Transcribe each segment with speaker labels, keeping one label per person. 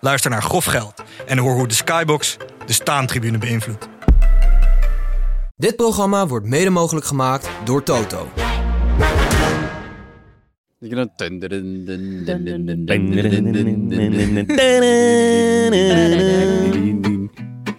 Speaker 1: Luister naar Grof Geld en hoor hoe de Skybox de staantribune beïnvloedt.
Speaker 2: Dit programma wordt mede mogelijk gemaakt door Toto.
Speaker 3: Je kan dan dun dun dun dun dun dun dun dun dun dun dun dun dun.
Speaker 4: Welkom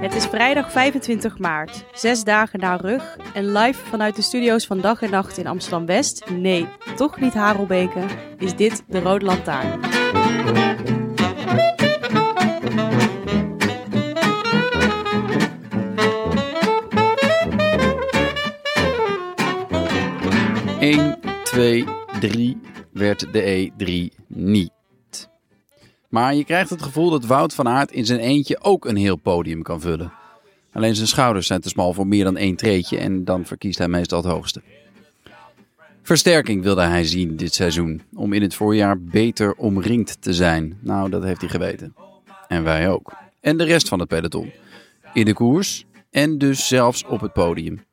Speaker 5: Het is vrijdag 25 maart, zes dagen na rug en live vanuit de studio's van Dag en Nacht in Amsterdam-West. Nee, toch niet Harelbeke, is dit de Rode Lantaarn.
Speaker 3: Eén, twee, drie werd de E3 niet. Maar je krijgt het gevoel dat Wout van Aert in zijn eentje ook een heel podium kan vullen. Alleen zijn schouders zijn te smal voor meer dan één treetje en dan verkiest hij meestal het hoogste. Versterking wilde hij zien dit seizoen, om in het voorjaar beter omringd te zijn. Nou, dat heeft hij geweten. En wij ook. En de rest van het peloton. In de koers en dus zelfs op het podium.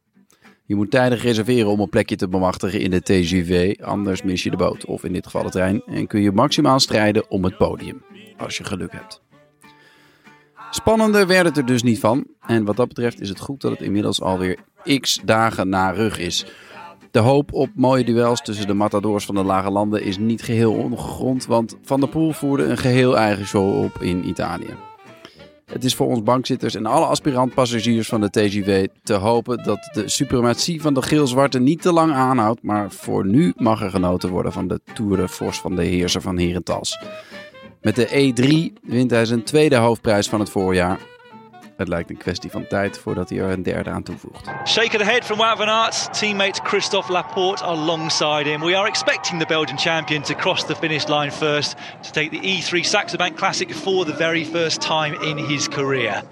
Speaker 3: Je moet tijdig reserveren om een plekje te bemachtigen in de TGV, anders mis je de boot of in dit geval de trein en kun je maximaal strijden om het podium, als je geluk hebt. Spannender werd het er dus niet van en wat dat betreft is het goed dat het inmiddels alweer x dagen na rug is. De hoop op mooie duels tussen de matadors van de lage landen is niet geheel ongegrond, want Van der Poel voerde een geheel eigen show op in Italië. Het is voor ons bankzitters en alle aspirant-passagiers van de TGV te hopen dat de suprematie van de geel-zwarte niet te lang aanhoudt. Maar voor nu mag er genoten worden van de Tour de Force van de heerser van Herentals. Met de E3 wint hij zijn tweede hoofdprijs van het voorjaar. Het lijkt een kwestie van tijd voordat hij er een derde aan toevoegt.
Speaker 6: Shake of the head from Wout van Aert's teammate Christophe Laporte alongside him. We are expecting the Belgian champion to cross the finish line first to take the E3 Saxo Bank Classic for the very first time in his career.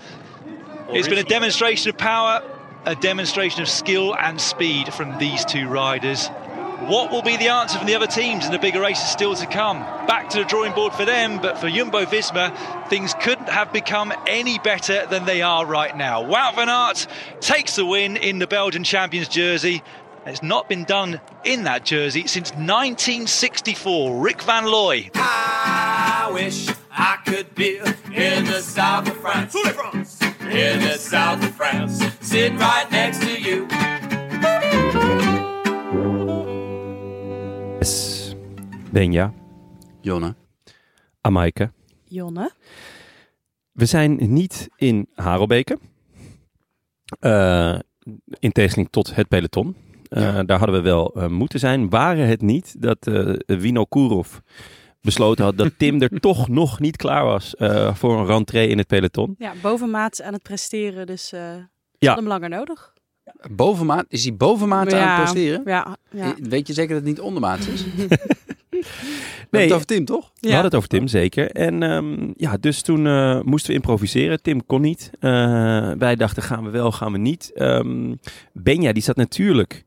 Speaker 6: It's been a demonstration of power, a demonstration of skill and speed from these two riders. What will be the answer from the other teams in the bigger races still to come? Back to the drawing board for them, but for Jumbo Visma, things couldn't have become any better than they are right now. Wout van Aert takes the win in the Belgian Champions jersey. It's not been done in that jersey since 1964. Rick Van Looy
Speaker 7: I wish I could be in the south of France. In the south of France. Sitting right next to you.
Speaker 4: Yes. Benja,
Speaker 3: Jonne,
Speaker 4: Amaike.
Speaker 5: Jonne,
Speaker 4: We zijn niet in Harelbeke. Eh, in tegenstelling tot het peloton. Eh, Daar hadden we wel eh, moeten zijn. Waren het niet dat eh Wino Kurov besloten had dat Tim er toch nog niet klaar was eh, voor een rentree in het peloton.
Speaker 5: ja, bovenmaats aan het presteren, dus eh ze
Speaker 4: Ja.
Speaker 5: hadden hem langer nodig.
Speaker 3: bovenmaat, is hij bovenmaat aan
Speaker 5: ja,
Speaker 3: het presteren? Eh,
Speaker 5: Ja,
Speaker 4: Eh,
Speaker 5: ja.
Speaker 3: Weet je zeker dat het niet ondermaat is?
Speaker 4: Nee.
Speaker 3: Nee. Dat Tim, toch?
Speaker 4: We
Speaker 5: Ja.
Speaker 4: hadden het over Tim, zeker. En ehm, ja, dus toen eh, moesten we improviseren. Tim kon niet. Eh, wij dachten, gaan we wel, gaan we niet. Ehm, Benja, die zat natuurlijk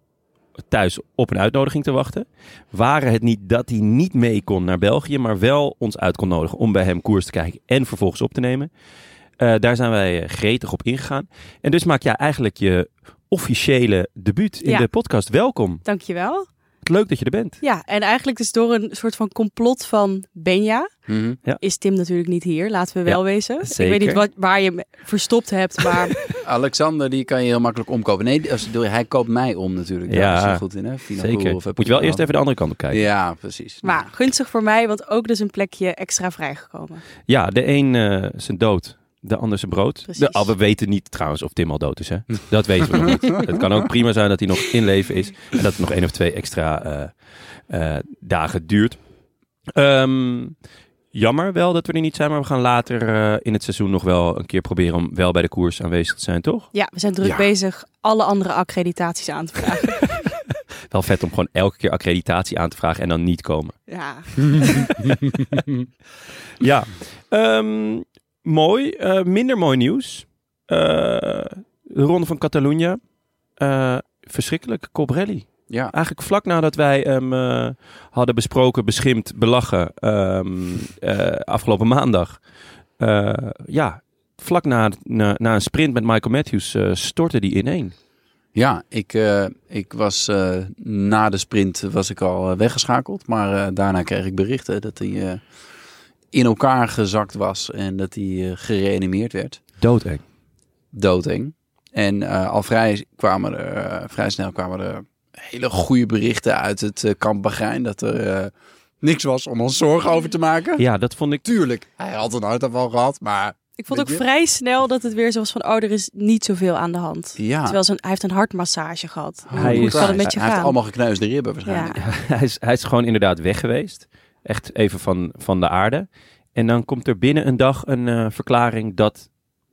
Speaker 4: thuis op een uitnodiging te wachten. Waren het niet dat hij niet mee kon naar België, maar wel ons uit kon nodigen om bij hem koers te kijken en vervolgens op te nemen. Eh, daar zijn wij eh, gretig op ingegaan. En dus maak jij eigenlijk je officiële debuut in
Speaker 5: Ja.
Speaker 4: de podcast. Welkom.
Speaker 5: Dankjewel.
Speaker 4: Leuk dat je er bent.
Speaker 5: Ja, en eigenlijk dus door een soort van complot van Benja
Speaker 3: Mhm.
Speaker 5: is Tim natuurlijk niet hier, laten we wel
Speaker 4: Ja,
Speaker 5: wezen. Ik
Speaker 4: zeker.
Speaker 5: weet niet wat, waar je hem verstopt hebt, maar
Speaker 3: Alexander, die kan je heel makkelijk omkopen. Nee, als, hij koopt mij om natuurlijk. Daar
Speaker 4: Ja,
Speaker 3: is hij goed in, hè? Fina
Speaker 4: Zeker.
Speaker 3: Koolhof, heb
Speaker 4: Moet je wel eerst even de andere kant op kijken.
Speaker 3: Ja, precies.
Speaker 5: maar gunstig voor mij, want ook dus een plekje extra vrijgekomen.
Speaker 4: Ja, de een eh, zijn dood, de ander zijn brood.
Speaker 5: Precies.
Speaker 4: De, ah, we weten niet trouwens of Tim al dood is, hè? Dat weten we nog niet. Het kan ook prima zijn dat hij nog in leven is en dat het nog één of twee extra eh, eh, dagen duurt. Ehm, Jammer wel dat we er niet zijn, maar we gaan later eh, in het seizoen nog wel een keer proberen om wel bij de koers aanwezig te zijn, toch?
Speaker 5: Ja, we zijn druk
Speaker 3: Ja.
Speaker 5: bezig alle andere accreditaties aan te vragen.
Speaker 4: Wel vet om gewoon elke keer accreditatie aan te vragen en dan niet komen.
Speaker 5: ja.
Speaker 4: Ja. Ehm, mooi. Eh, minder mooi nieuws. Eh, de Ronde van Catalunya. Eh verschrikkelijk. Cobrelli.
Speaker 3: Ja.
Speaker 4: Eigenlijk vlak nadat wij hem eh, hadden besproken, beschimpt, belachen ehm, eh, afgelopen maandag. Eh, ja, vlak na, na, na een sprint met Michael Matthews eh, stortte die ineen.
Speaker 3: Ja, ik, eh, ik was eh, na de sprint was ik al eh, weggeschakeld. Maar eh, daarna kreeg ik berichten dat hij eh, in elkaar gezakt was en dat hij eh, gereanimeerd werd.
Speaker 4: Doodeng.
Speaker 3: Doodeng. En eh, al vrij, kwamen er, eh, vrij snel kwamen er hele goede berichten uit het eh, kamp Bahrein. Dat er eh, niks was om ons zorgen over te maken.
Speaker 4: Ja, dat vond ik...
Speaker 3: Tuurlijk, hij had een hartaanval gehad, maar
Speaker 5: Ik vond ook
Speaker 3: Weet je?
Speaker 5: vrij snel dat het weer zo was van, oh, er is niet zoveel aan de hand.
Speaker 3: ja. Oh,
Speaker 5: Terwijl ze een- hij heeft een hartmassage gehad.
Speaker 4: Hij
Speaker 5: Hoe
Speaker 4: is-
Speaker 5: kan het met je
Speaker 3: hij heeft
Speaker 5: gaan?
Speaker 3: allemaal gekneusde ribben waarschijnlijk.
Speaker 5: Ja.
Speaker 4: hij, is, hij is gewoon inderdaad weg geweest. Echt even van, van de aarde. En dan komt er binnen een dag een eh, verklaring dat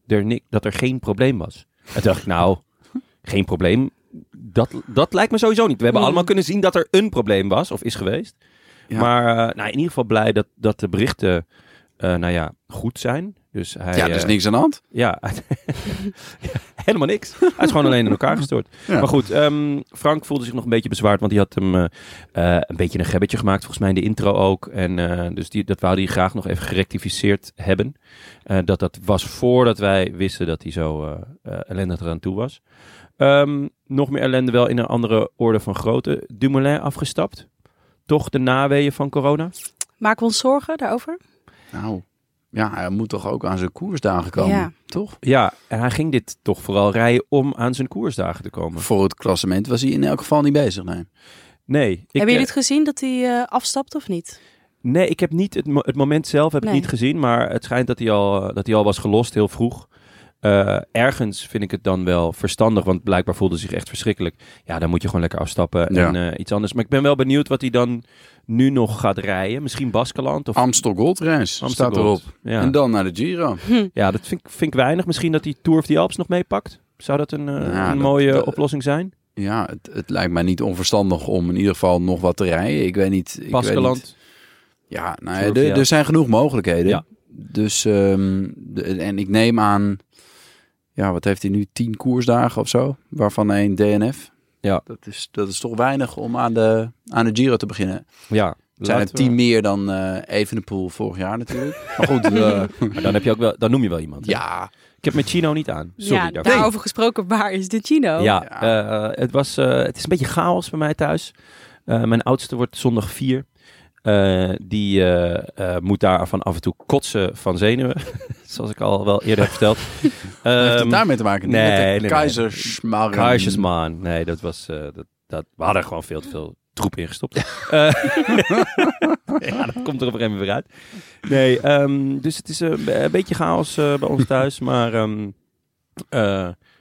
Speaker 4: er, ni- dat er geen probleem was. En toen dacht ik, nou, geen probleem. Dat, dat lijkt me sowieso niet. We hebben
Speaker 5: Mm.
Speaker 4: allemaal kunnen zien dat er een probleem was of is geweest.
Speaker 3: Hmm. Ja.
Speaker 4: Maar eh, nou, in ieder geval blij dat, dat de berichten eh, nou ja, goed zijn. Dus hij,
Speaker 3: Ja, dus
Speaker 4: eh,
Speaker 3: niks aan de hand.
Speaker 4: ja, helemaal niks. Hij is gewoon alleen in elkaar gestort.
Speaker 3: Ja.
Speaker 4: Maar goed, ehm, Frank voelde zich nog een beetje bezwaard, want hij had hem eh, eh, een beetje een gebbetje gemaakt, volgens mij in de intro ook. En eh, dus die, dat wou hij graag nog even gerectificeerd hebben. Eh, dat dat was voordat wij wisten dat hij zo eh eh, ellendig eraan toe was. Ehm, nog meer ellende wel in een andere orde van grootte. Dumoulin afgestapt. Toch de naweeën van corona?
Speaker 5: Maken we ons zorgen daarover?
Speaker 3: Nou, ja, hij moet toch ook aan zijn koersdagen komen,
Speaker 5: Ja.
Speaker 3: toch?
Speaker 4: Ja, en hij ging dit toch vooral rijden om aan zijn koersdagen te komen.
Speaker 3: Voor het klassement was hij in elk geval niet bezig, nee.
Speaker 4: Nee. Ik,
Speaker 5: Hebben
Speaker 4: eh,
Speaker 5: jullie het gezien dat hij eh, afstapt of niet?
Speaker 4: Nee, ik heb niet het, mo- het moment zelf heb
Speaker 5: Nee.
Speaker 4: ik niet gezien, maar het schijnt dat hij al, eh, dat hij al was gelost heel vroeg. Eh, ergens vind ik het dan wel verstandig, want blijkbaar voelde hij zich echt verschrikkelijk. Ja, dan moet je gewoon lekker afstappen
Speaker 3: Ja.
Speaker 4: en eh, iets anders. Maar ik ben wel benieuwd wat hij dan nu nog gaat rijden. Misschien Baskeland of
Speaker 3: Amstel Gold Race staat
Speaker 4: Amsterdam.
Speaker 3: erop.
Speaker 4: Ja,
Speaker 3: En dan naar de Giro.
Speaker 4: ja dat vind, ik- vind ik weinig. Misschien dat hij Tour of the Alps nog meepakt. Zou dat een, eh,
Speaker 3: Ja,
Speaker 4: een
Speaker 3: dat-
Speaker 4: mooie
Speaker 3: dat-
Speaker 4: oplossing zijn?
Speaker 3: Ja, het, het lijkt mij niet onverstandig om in ieder geval nog wat te rijden. Ik weet niet. Ik Weet niet.
Speaker 4: Baskeland.
Speaker 3: Ja, nou,
Speaker 4: Tour
Speaker 3: ja,
Speaker 4: of the
Speaker 3: er- er
Speaker 4: Alps.
Speaker 3: zijn genoeg mogelijkheden.
Speaker 4: Ja.
Speaker 3: Dus, ehm, de- en ik neem aan, ja, wat heeft hij nu? Tien koersdagen of zo, waarvan één DNF.
Speaker 4: Ja.
Speaker 3: Dat is, dat is toch weinig om aan de, aan de Giro te beginnen.
Speaker 4: Ja.
Speaker 3: Het zijn er
Speaker 4: laten we-
Speaker 3: tien meer dan eh Evenepoel vorig jaar natuurlijk. Maar goed, eh,
Speaker 4: Maar dan, heb je ook wel, dan noem je wel iemand.
Speaker 3: ja.
Speaker 4: Ik heb mijn chino niet aan. Sorry
Speaker 5: ja, nou,
Speaker 4: daarvoor.
Speaker 5: daarover gesproken, waar is de Gino?
Speaker 4: Ja,
Speaker 3: Oh, Ja.
Speaker 4: eh, eh, het, was, eh, het is een beetje chaos bij mij thuis. Eh, mijn oudste wordt zondag vier. Eh, die eh, eh, moet daar van af en toe kotsen van zenuwen. Zoals ik al wel eerder heb verteld.
Speaker 3: heeft het
Speaker 4: Ehm,
Speaker 3: daarmee te maken?
Speaker 4: nee,
Speaker 3: Met de
Speaker 4: nee, nee.
Speaker 3: Keizersmarren.
Speaker 4: Kaarsjesmaan. Nee, dat was. eh, dat, dat, we hadden er gewoon veel te veel troep ingestopt. Eh, ja, dat komt er op een gegeven moment weer uit. Nee, ehm, dus het is een, be- een beetje chaos eh, bij ons thuis. Maar ehm, eh,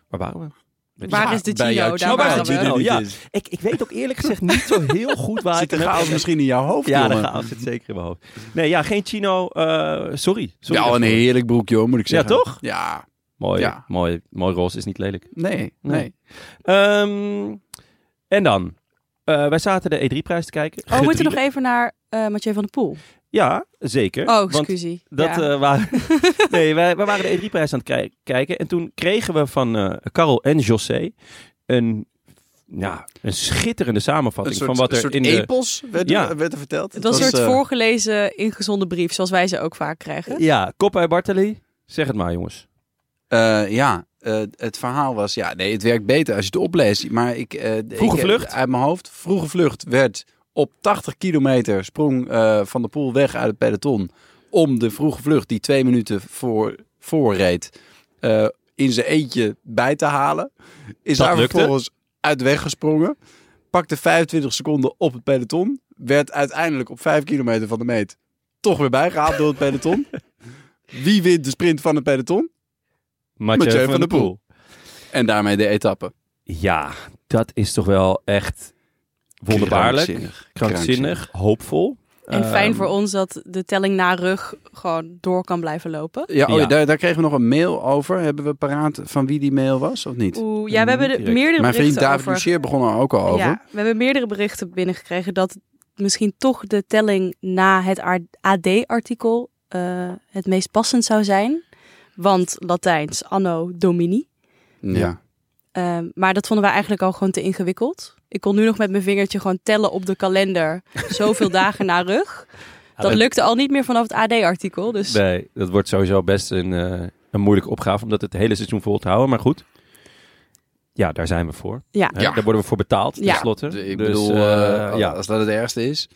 Speaker 4: waar waren we? Weet je-
Speaker 5: Waar is de
Speaker 3: bij
Speaker 5: Gino?
Speaker 3: jou,
Speaker 5: Daar
Speaker 4: waar is
Speaker 5: waren
Speaker 4: de
Speaker 5: we.
Speaker 4: Gino?
Speaker 3: Oh,
Speaker 4: Ja.
Speaker 3: ja.
Speaker 4: Ik, ik weet ook eerlijk gezegd niet zo heel goed waar
Speaker 3: Zit
Speaker 4: ik
Speaker 3: de
Speaker 4: hem heb.
Speaker 3: chaos misschien in jouw hoofd,
Speaker 4: Ja, de
Speaker 3: jongen?
Speaker 4: chaos zit zeker in mijn hoofd. Nee, ja, geen chino. eh, sorry. sorry
Speaker 3: Ja, een
Speaker 4: daarvoor.
Speaker 3: heerlijk broekje, hoor, moet ik
Speaker 4: Ja,
Speaker 3: zeggen.
Speaker 4: toch?
Speaker 3: Ja,
Speaker 4: Mooi,
Speaker 3: Ja.
Speaker 4: mooi, mooi roze is niet lelijk.
Speaker 3: nee,
Speaker 4: Nee.
Speaker 3: nee.
Speaker 4: Ehm, en dan? Eh, wij zaten de E3-prijs te kijken.
Speaker 5: Oh, we moeten nog
Speaker 4: Gedrie-
Speaker 5: even naar eh Mathieu van der Poel.
Speaker 4: Ja, zeker.
Speaker 5: Oh,
Speaker 4: Want
Speaker 5: excusie.
Speaker 4: Dat,
Speaker 5: ja.
Speaker 4: eh, waren... nee, wij, wij waren de E3-prijs aan het kij- kijken. En toen kregen we van eh Karel en José een, ja, een schitterende
Speaker 3: Een
Speaker 4: samenvatting
Speaker 3: soort,
Speaker 4: van wat
Speaker 3: een
Speaker 4: er
Speaker 3: soort
Speaker 4: in de...
Speaker 3: epos werd,
Speaker 4: Ja.
Speaker 3: werd er verteld.
Speaker 5: het was een soort
Speaker 3: eh,
Speaker 5: voorgelezen ingezonde brief, zoals wij ze ook vaak krijgen.
Speaker 4: Ja, Kop bij Bartali. Zeg het maar, jongens.
Speaker 3: eh, ja, eh, het verhaal was... Ja, nee, het werkt beter als je het opleest. Maar ik... eh,
Speaker 4: Vroege
Speaker 3: ik-
Speaker 4: vlucht?
Speaker 3: Uit mijn hoofd. Vroege vlucht werd op 80 kilometer sprong eh, Van de Poel weg uit het peloton. Om de vroege vlucht die twee minuten voor, voorreed eh, in zijn eentje bij te halen. Is
Speaker 4: Dat
Speaker 3: daar
Speaker 4: lukte.
Speaker 3: vervolgens uit weggesprongen. Pakte 25 seconden op het peloton. Werd uiteindelijk op 5 kilometer van de meet toch weer bijgehaald door het peloton. Wie wint de sprint van het peloton?
Speaker 4: Mathieu,
Speaker 3: Mathieu
Speaker 4: van,
Speaker 3: van
Speaker 4: der
Speaker 3: der
Speaker 4: Poel.
Speaker 3: En daarmee de etappe.
Speaker 4: Ja, dat is toch wel echt wonderbaarlijk, krankzinnig,
Speaker 3: Krankzinnig.
Speaker 4: hoopvol. Eh,
Speaker 5: En fijn
Speaker 3: Ehm,
Speaker 5: voor ons dat de telling na rug gewoon door kan blijven lopen.
Speaker 3: Ja, oh, ja,
Speaker 4: Ja.
Speaker 3: Daar, daar kregen we nog een mail over. Hebben we paraat van wie die mail was of niet?
Speaker 5: Oeh, ja, we hebben er
Speaker 4: direct.
Speaker 5: meerdere
Speaker 3: Mijn vriend
Speaker 5: berichten
Speaker 3: David
Speaker 5: over.
Speaker 3: Lucier begon er ook al over.
Speaker 5: Ja, we hebben meerdere berichten binnengekregen dat misschien toch de telling na het AD-artikel eh, het meest passend zou zijn. Want Latijns anno domini.
Speaker 3: Ja.
Speaker 5: Ehm, maar dat vonden wij eigenlijk al gewoon te ingewikkeld. Ik kon nu nog met mijn vingertje gewoon tellen op de kalender. Zoveel dagen na rug. Dat
Speaker 4: dat-
Speaker 5: lukte al niet meer vanaf het AD-artikel. Dus
Speaker 4: Nee, dat wordt sowieso best een, eh, een moeilijke opgave om dat het hele seizoen vol te houden. Maar goed, ja, daar zijn we voor.
Speaker 5: ja.
Speaker 4: Hè,
Speaker 3: Ja.
Speaker 4: Daar worden we voor betaald,
Speaker 5: Ja.
Speaker 4: tenslotte.
Speaker 3: Ik
Speaker 4: Dus,
Speaker 3: bedoel,
Speaker 4: eh,
Speaker 3: eh,
Speaker 4: ja.
Speaker 3: als dat het ergste is,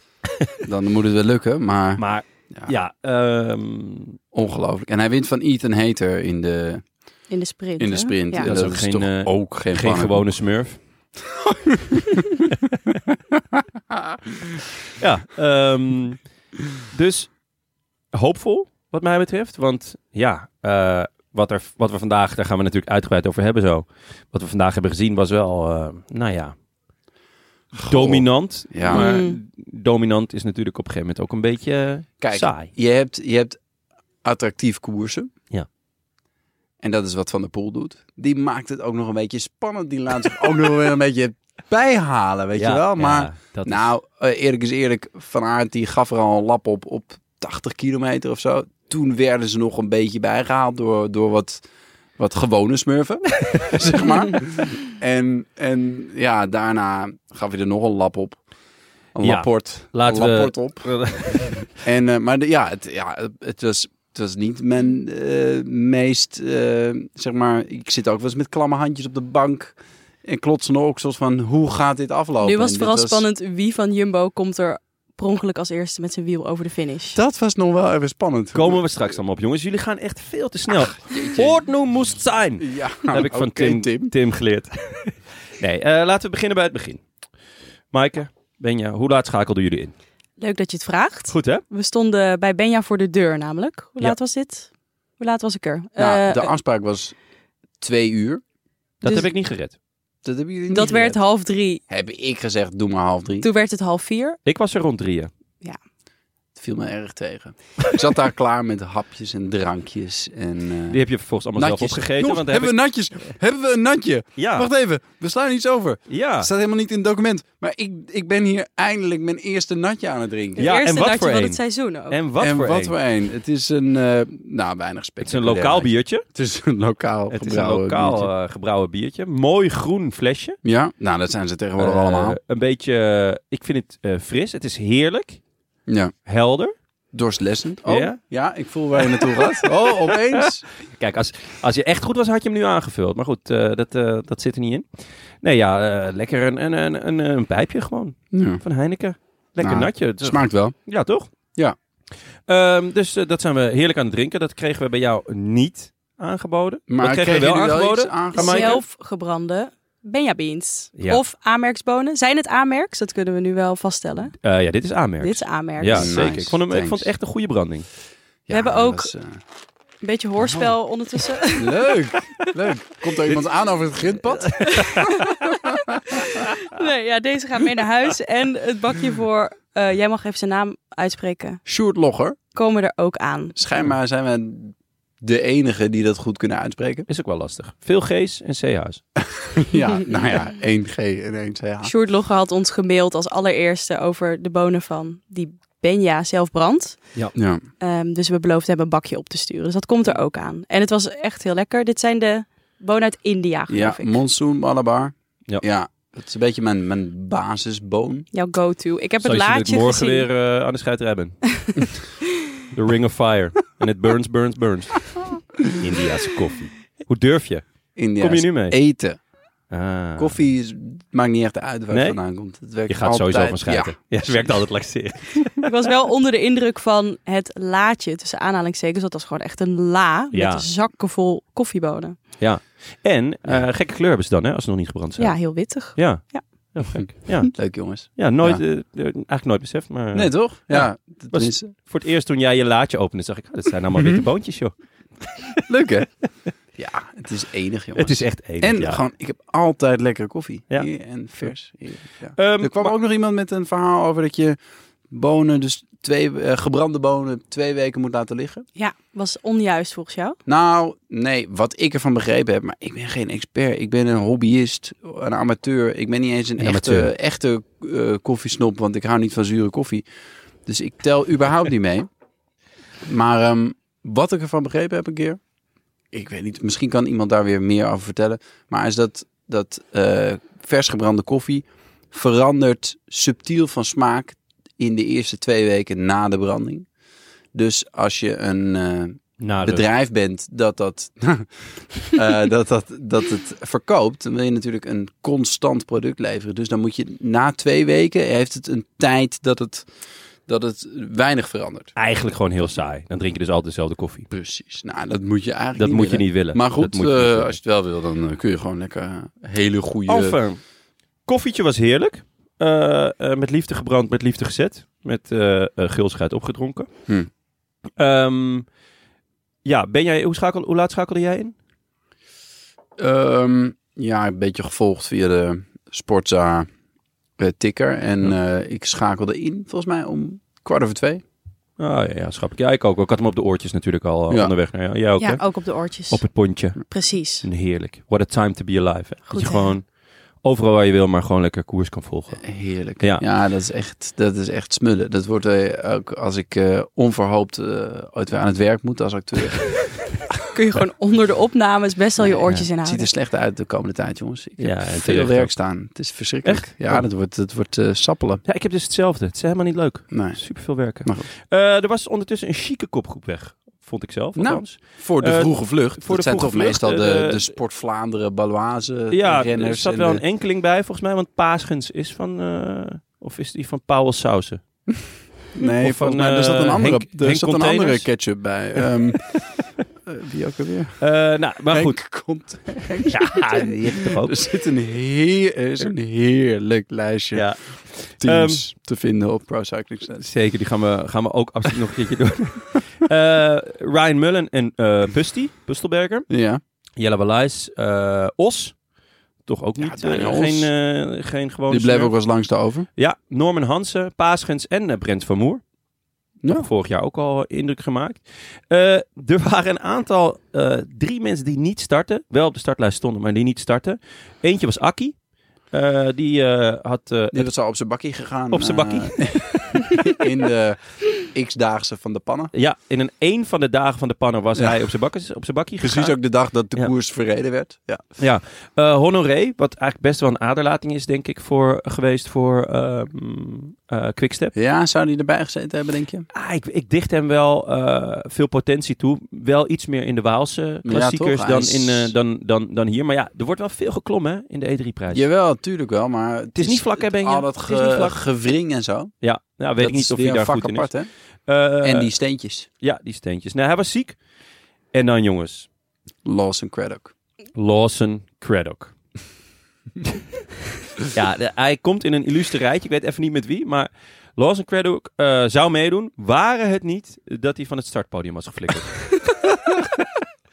Speaker 3: dan moet het wel lukken. Maar,
Speaker 4: Maar
Speaker 3: ja,
Speaker 4: ja, ehm,
Speaker 3: ongelooflijk. En hij wint van Ethan Hater in de,
Speaker 5: in de sprint.
Speaker 3: in de
Speaker 5: hè?
Speaker 3: sprint.
Speaker 5: Ja.
Speaker 3: En dat,
Speaker 4: Dat is
Speaker 3: is,
Speaker 4: ook geen,
Speaker 3: toch
Speaker 4: eh,
Speaker 3: ook geen,
Speaker 4: geen
Speaker 3: pannenkoek.
Speaker 4: gewone smurf. ja, ehm, dus hoopvol wat mij betreft. Want ja, eh, wat, er, wat we vandaag, daar gaan we natuurlijk uitgebreid over hebben zo. Wat we vandaag hebben gezien was wel, eh, nou ja, dominant.
Speaker 3: Ja.
Speaker 4: Maar
Speaker 5: Mm.
Speaker 4: dominant is natuurlijk op een gegeven moment ook een beetje eh,
Speaker 3: Kijk,
Speaker 4: saai.
Speaker 3: Je hebt, je hebt attractief koersen.
Speaker 4: Ja.
Speaker 3: En dat is wat Van der Poel doet. Die maakt het ook nog een beetje spannend. Die laat zich ook nog weer een beetje bijhalen, weet je wel. Maar
Speaker 4: ja, dat is-
Speaker 3: nou, eh, eerlijk is eerlijk, Van Aert die gaf er al een lap op op 80 kilometer of zo. Toen werden ze nog een beetje bijgehaald door, door wat, wat gewone smurfen, zeg maar. En, en ja, daarna gaf hij er nog een lap op. Een
Speaker 4: Ja,
Speaker 3: rapport.
Speaker 4: laten
Speaker 3: een
Speaker 4: we-
Speaker 3: rapport op. En, eh, maar de- ja, het, ja, het was... Het was niet mijn eh, meest, eh, zeg maar, ik zit ook wel eens met klamme handjes op de bank en klotsende oksels van hoe gaat dit aflopen?
Speaker 5: Nu was
Speaker 3: En
Speaker 5: het vooral
Speaker 3: dit
Speaker 5: spannend wie van Jumbo komt er per ongeluk als eerste met zijn wiel over de finish.
Speaker 3: Dat was nog wel even spannend.
Speaker 4: Komen we straks allemaal op, jongens. Jullie gaan echt veel te snel. Ordnung moest zijn.
Speaker 3: Ja,
Speaker 4: Dat heb ik van
Speaker 3: Nou, oké,
Speaker 4: Tim, Tim. geleerd. nee, eh, laten we beginnen bij het begin. Maaike, Benja, hoe laat schakelden jullie in?
Speaker 5: Leuk dat je het vraagt.
Speaker 4: Goed, hè?
Speaker 5: We stonden bij Benja voor de deur namelijk. Hoe
Speaker 4: Ja.
Speaker 5: laat was dit? Hoe laat was ik er?
Speaker 3: Nou,
Speaker 5: Eh,
Speaker 3: de afspraak was twee uur.
Speaker 4: Dat
Speaker 5: Dus-
Speaker 4: heb ik niet gered.
Speaker 3: Dat hebben jullie niet
Speaker 5: dat werd
Speaker 3: gered.
Speaker 5: half drie.
Speaker 3: Heb ik gezegd, doe maar half drie.
Speaker 5: Toen werd het half vier.
Speaker 4: Ik was er rond drieën.
Speaker 3: Het viel me erg tegen. ik zat daar klaar met hapjes en drankjes en... eh,
Speaker 4: Die heb je vervolgens allemaal
Speaker 3: natjes.
Speaker 4: zelf opgegeten.
Speaker 3: Jongens,
Speaker 4: want
Speaker 3: hebben we natjes? Hebben we een natje?
Speaker 4: Ja,
Speaker 3: Wacht even, we slaan iets over.
Speaker 4: ja.
Speaker 3: Het staat helemaal niet in het document. Maar ik, ik ben hier eindelijk mijn eerste natje aan het drinken.
Speaker 5: De
Speaker 4: Ja, en
Speaker 5: eerste
Speaker 4: wat
Speaker 5: natje
Speaker 4: voor
Speaker 5: van
Speaker 4: een?
Speaker 5: het seizoen ook.
Speaker 4: En wat
Speaker 3: en
Speaker 4: voor
Speaker 3: wat
Speaker 4: een?
Speaker 3: voor een? Het is een, eh, nou, weinig
Speaker 4: Het is een
Speaker 3: spectaculair.
Speaker 4: lokaal biertje.
Speaker 3: Het is een lokaal
Speaker 4: Het is een
Speaker 3: gebrouwen
Speaker 4: lokaal
Speaker 3: biertje.
Speaker 4: eh, gebrouwen biertje. Mooi groen flesje.
Speaker 3: Ja, nou, dat zijn ze tegenwoordig
Speaker 4: Eh,
Speaker 3: allemaal.
Speaker 4: Een beetje, eh, ik vind het eh, fris. Het is heerlijk.
Speaker 3: Ja.
Speaker 4: Helder.
Speaker 3: Dorslessen. Oh,
Speaker 4: Ja?
Speaker 3: ja? ik voel waar je naartoe gaat. Oh, opeens.
Speaker 4: Kijk, als, als je echt goed was, had je hem nu aangevuld. Maar goed, eh, dat, eh, dat zit er niet in. Nee, ja, eh, lekker een, een, een, een, een pijpje gewoon.
Speaker 3: Ja.
Speaker 4: Van Heineken. Lekker
Speaker 3: Nou,
Speaker 4: natje. Het is-
Speaker 3: Smaakt wel.
Speaker 4: Ja, toch?
Speaker 3: Ja.
Speaker 4: Ehm, dus eh, dat zijn we heerlijk aan het drinken. Dat kregen we bij jou niet aangeboden.
Speaker 3: Maar
Speaker 4: dat kregen we
Speaker 3: kregen
Speaker 4: wel
Speaker 3: jullie wel
Speaker 4: aangeboden.
Speaker 3: iets aange-
Speaker 4: aan Maaike?
Speaker 5: Zelfgebrande Benja beans.
Speaker 4: Ja.
Speaker 5: Of aanmerksbonen. Zijn het aanmerks? Dat kunnen we nu wel vaststellen.
Speaker 4: Eh, ja, dit is aanmerk.
Speaker 5: Dit is aanmerks.
Speaker 4: Ja,
Speaker 3: Nice.
Speaker 4: zeker. Ik vond, hem, ik
Speaker 3: Thanks.
Speaker 4: vond het echt een goede branding.
Speaker 3: Ja,
Speaker 5: hebben
Speaker 3: dat
Speaker 5: ook-
Speaker 3: is, eh,
Speaker 5: Een beetje hoorspel
Speaker 4: Oh.
Speaker 5: ondertussen.
Speaker 3: leuk, leuk. Komt er iemand aan over het grindpad?
Speaker 5: nee, ja, deze gaat mee naar huis. En het bakje voor, eh, jij mag even zijn naam uitspreken,
Speaker 3: Sjoerd Logger.
Speaker 5: komen er ook aan.
Speaker 3: Schijnbaar zijn we de enige die dat goed kunnen uitspreken.
Speaker 4: Is ook wel lastig. Veel G's en CH's.
Speaker 3: Ja, nou ja, 1G en 1CH.
Speaker 5: Ah. Sjoerd Logge had ons gemaild als allereerste over de bonen van die Benja zelf brandt.
Speaker 3: Ja.
Speaker 5: Ehm, dus we beloofd hebben een bakje op te sturen. Dus dat komt er ook aan. En het was echt heel lekker. Dit zijn de bonen uit India,
Speaker 3: ja,
Speaker 5: geloof ik.
Speaker 3: Monsoon Malabar.
Speaker 4: Ja.
Speaker 3: Ja. dat is een beetje mijn, mijn basisboon.
Speaker 5: Jouw go-to. Ik heb
Speaker 4: Zoals
Speaker 5: het
Speaker 4: je dit
Speaker 5: laatje
Speaker 4: morgen
Speaker 5: gezien.
Speaker 4: weer eh, aan de scheiterij bent. The Ring of Fire. En het burns, burns, burns. Indiaanse koffie. Hoe durf je?
Speaker 3: India's
Speaker 4: Kom je nu mee?
Speaker 3: Eten.
Speaker 4: Ah.
Speaker 3: Koffie is, maakt niet echt uit waar
Speaker 4: Nee?
Speaker 3: het vandaan komt. Het werkt
Speaker 4: Je gaat sowieso
Speaker 3: altijd-
Speaker 4: van
Speaker 3: Ja,
Speaker 4: scheiden. Ja, het werkt altijd laxeren.
Speaker 5: Ik was wel onder de indruk van het laadje, tussen aanhalingstekens. Dat was gewoon echt een la
Speaker 4: Ja.
Speaker 5: met zakken vol koffiebonen.
Speaker 4: En eh, gekke kleur hebben ze dan, hè, als ze nog niet gebrand zijn.
Speaker 5: Ja, heel wittig.
Speaker 4: Ja.
Speaker 5: Ja.
Speaker 4: Heel gek. Ja,
Speaker 3: Leuk jongens.
Speaker 4: ja nooit,
Speaker 3: Ja.
Speaker 4: eh, eh, eigenlijk nooit beseft, maar eh,
Speaker 3: Nee, toch?
Speaker 4: Ja.
Speaker 3: Ja. tenminste.
Speaker 4: voor het eerst toen jij je laadje opende, zag ik, oh, dat zijn allemaal
Speaker 3: Mhm.
Speaker 4: witte boontjes, joh.
Speaker 3: Leuk, hè? ja, het is enig, jongens.
Speaker 4: Het is echt één.
Speaker 3: en gewoon, ik heb altijd lekkere koffie.
Speaker 4: Ja.
Speaker 3: Hier en vers. Hier, ja.
Speaker 4: Ehm,
Speaker 3: er kwam
Speaker 4: maar-
Speaker 3: ook nog iemand met een verhaal over dat je bonen dus twee eh, gebrande bonen twee weken moet laten liggen?
Speaker 5: Ja, was onjuist volgens jou.
Speaker 3: Nou, nee, wat ik ervan begrepen heb, maar ik ben geen expert. Ik ben een hobbyist, een amateur. Ik ben niet eens een,
Speaker 4: Een
Speaker 3: echte,
Speaker 4: amateur.
Speaker 3: echte eh, koffiesnop, want ik hou niet van zure koffie. Dus ik tel überhaupt niet mee. Maar ehm, wat ik ervan begrepen heb een keer, ik weet niet, misschien kan iemand daar weer meer over vertellen. Maar is dat, dat eh, vers gebrande koffie verandert subtiel van smaak in de eerste twee weken na de branding. Dus als je een... eh,
Speaker 4: Nou,
Speaker 3: bedrijf bent dat dat, eh, dat, dat, dat het verkoopt, dan wil je natuurlijk een constant product leveren. Dus dan moet je na twee weken heeft het een tijd dat het, dat het weinig verandert.
Speaker 4: Eigenlijk gewoon heel saai. Dan drink je dus altijd dezelfde koffie.
Speaker 3: Precies. Nou, dat moet je eigenlijk
Speaker 4: Dat
Speaker 3: niet
Speaker 4: moet je
Speaker 3: willen.
Speaker 4: niet willen.
Speaker 3: Maar
Speaker 4: Dat
Speaker 3: goed,
Speaker 4: moet je niet
Speaker 3: eh,
Speaker 4: willen.
Speaker 3: als je het wel wil, dan eh, kun je gewoon lekker eh, hele goede...
Speaker 4: Alfer, koffietje was heerlijk. Eh, eh, met liefde gebrand, met liefde gezet. Met eh eh, gulzigheid opgedronken.
Speaker 3: Hm.
Speaker 4: Ehm, ja, ben jij, hoe, schakel, hoe laat schakelde jij in?
Speaker 3: Ehm, ja, een beetje gevolgd via de Sportza eh, ticker. En eh, ik schakelde in, volgens mij, om kwart over twee.
Speaker 4: Ah ja, ja schrap ik. Ja, ik ook. Ik had hem op de oortjes natuurlijk al eh,
Speaker 3: Ja.
Speaker 4: onderweg. Naar jou. Jij ook, hè?
Speaker 5: Ja, ook op de oortjes.
Speaker 4: Op het pontje.
Speaker 5: Precies.
Speaker 4: En heerlijk. What a time to be alive. Hè?
Speaker 5: Goed,
Speaker 4: dat je
Speaker 5: hè?
Speaker 4: gewoon overal waar je wil, maar gewoon lekker koers kan volgen.
Speaker 3: Heerlijk.
Speaker 4: Ja.
Speaker 3: Ja, dat, is echt, dat is echt smullen. Dat wordt eh, ook als ik eh, onverhoopt eh, ooit weer aan het werk moet als acteur.
Speaker 5: Kun je gewoon onder de opnames best wel je oortjes
Speaker 3: Het ziet er
Speaker 5: inhouden.
Speaker 3: slecht uit de komende tijd, jongens. Ik
Speaker 4: Ja,
Speaker 3: heb
Speaker 4: en
Speaker 3: veel
Speaker 4: terecht
Speaker 3: werk
Speaker 4: ook.
Speaker 3: staan. Het is verschrikkelijk. Ja,
Speaker 4: Oh.
Speaker 3: dat wordt, dat wordt eh, sappelen.
Speaker 4: Ja, ik heb dus hetzelfde. Het is helemaal niet leuk.
Speaker 3: Nee.
Speaker 4: Super veel werken.
Speaker 3: Maar goed.
Speaker 4: Eh, er was ondertussen een chique kopgroep weg. Vond ik zelf.
Speaker 3: Nou,
Speaker 4: althans.
Speaker 3: Voor
Speaker 4: de Eh,
Speaker 3: vroege vlucht.
Speaker 4: voor
Speaker 3: Voor
Speaker 4: de
Speaker 3: dat zijn
Speaker 4: vroege
Speaker 3: toch
Speaker 4: vlucht,
Speaker 3: meestal de,
Speaker 4: eh,
Speaker 3: de Sport Vlaanderen, Baloise,
Speaker 4: ja, er
Speaker 3: renners.
Speaker 4: zat
Speaker 3: en
Speaker 4: wel
Speaker 3: de-
Speaker 4: een enkeling bij volgens mij. Want Paasgens is van... eh, of is die van Paul Sausen?
Speaker 3: Nee,
Speaker 4: of
Speaker 3: volgens
Speaker 4: van,
Speaker 3: mij, er zat een
Speaker 4: eh,
Speaker 3: andere,
Speaker 4: Henk-
Speaker 3: er
Speaker 4: Henk
Speaker 3: zat een
Speaker 4: Containers.
Speaker 3: andere ketchup bij. Ehm eh, wie ook alweer?
Speaker 4: Eh, nou, maar goed.
Speaker 3: Henk Cont-
Speaker 4: Ja, die heb je toch ook.
Speaker 3: Er zit een, heer, er is een heerlijk lijstje.
Speaker 4: Ja, Ehm,
Speaker 3: teams te vinden op Pro Cycling Stats.
Speaker 4: zeker. Die gaan we, gaan we ook absoluut nog een keertje doen. Eh, Ryan Mullen en eh Busty, Bustelberger.
Speaker 3: Ja,
Speaker 4: Jelle Balais, eh, Os. Toch ook niet. eh,
Speaker 3: Daniel Os.
Speaker 4: geen, eh, geen gewoon.
Speaker 3: die blijven ook wel eens langs over.
Speaker 4: Ja, Norman Hansen, Paasgens en eh, Brent van Moer.
Speaker 3: Ja.
Speaker 4: Vorig jaar ook al eh, indruk gemaakt. Eh, er waren een aantal, eh, drie mensen die niet starten. Wel op de startlijst stonden, maar die niet starten. Eentje was Akki. Eh, die eh, had eh,
Speaker 3: Die was al op zijn bakkie gegaan.
Speaker 4: Op zijn
Speaker 3: eh,
Speaker 4: bakkie?
Speaker 3: in de x-daagse van de pannen.
Speaker 4: Ja, in een, een van de dagen van de pannen was
Speaker 3: Ja.
Speaker 4: hij op zijn, bakkes, op zijn bakkie
Speaker 3: Precies
Speaker 4: gegaan.
Speaker 3: ook de dag dat de
Speaker 4: Ja.
Speaker 3: koers verreden werd. Ja.
Speaker 4: Ja, Eh, Honoré, wat eigenlijk best wel een aderlating is, denk ik, voor, geweest voor ehm eh, Quickstep.
Speaker 3: ja, zou die erbij gezeten hebben, denk je?
Speaker 4: Ah, ik, ik dicht hem wel eh, veel potentie toe. Wel iets meer in de Waalse klassiekers
Speaker 3: toch? Hij
Speaker 4: dan,
Speaker 3: is-
Speaker 4: in, eh, dan, dan, dan hier. Maar ja, er wordt wel veel geklommen hè, in de E E3-prijs.
Speaker 3: Jawel, tuurlijk wel, maar... Het
Speaker 4: is niet vlak, hè, Benja?
Speaker 3: Al dat
Speaker 4: Het is niet
Speaker 3: ge-
Speaker 4: vlak.
Speaker 3: gewring en zo.
Speaker 4: Ja, nou, weet
Speaker 3: dat
Speaker 4: ik niet
Speaker 3: is
Speaker 4: of
Speaker 3: weer
Speaker 4: hij daar
Speaker 3: een vak
Speaker 4: goed in is.
Speaker 3: apart, hè?
Speaker 4: Eh,
Speaker 3: en die steentjes.
Speaker 4: Ja, die steentjes. Nou, hij was ziek. En dan jongens,
Speaker 3: Lawson Craddock.
Speaker 4: Lawson Craddock. ja, de- hij komt in een illustre rijtje. Ik weet even niet met wie, maar Lawson Craddock eh, zou meedoen. Waren het niet dat hij van het startpodium was geflikkerd.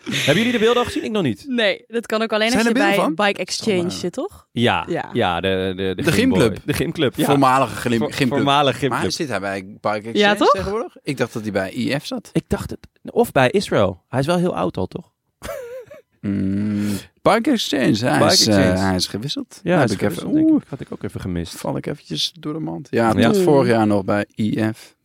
Speaker 4: Hebben jullie de beelden al gezien? Ik nog niet.
Speaker 5: Nee, dat kan ook alleen
Speaker 3: Zijn
Speaker 5: als
Speaker 3: er
Speaker 5: je bij
Speaker 3: beelden van?
Speaker 5: Bike Exchange zit, toch?
Speaker 4: Ja, ja.
Speaker 5: Ja.
Speaker 4: de, de, de,
Speaker 3: De
Speaker 4: Gymboy.
Speaker 3: gymclub.
Speaker 4: De gymclub, ja.
Speaker 3: Voormalige glim,
Speaker 4: Vo-
Speaker 3: gymclub.
Speaker 4: Voormalig
Speaker 3: Maar
Speaker 4: gymclub.
Speaker 3: zit hij bij Bike Exchange
Speaker 5: Ja, toch?
Speaker 3: tegenwoordig? Ik dacht dat hij bij IF zat.
Speaker 4: Ik dacht het. Of bij Israël. Hij is wel heel oud al, toch?
Speaker 3: Mm, Bike Exchange. Hij,
Speaker 4: Bike
Speaker 3: is, eh,
Speaker 4: Exchange.
Speaker 3: hij is gewisseld.
Speaker 4: Ja,
Speaker 3: heb
Speaker 4: is
Speaker 3: ik even.
Speaker 4: gewisseld, denk
Speaker 3: oeh,
Speaker 4: ik. Had ik ook even gemist.
Speaker 3: val ik eventjes door de mand. Ja,
Speaker 4: Ja.
Speaker 3: dat vorig jaar nog bij IF.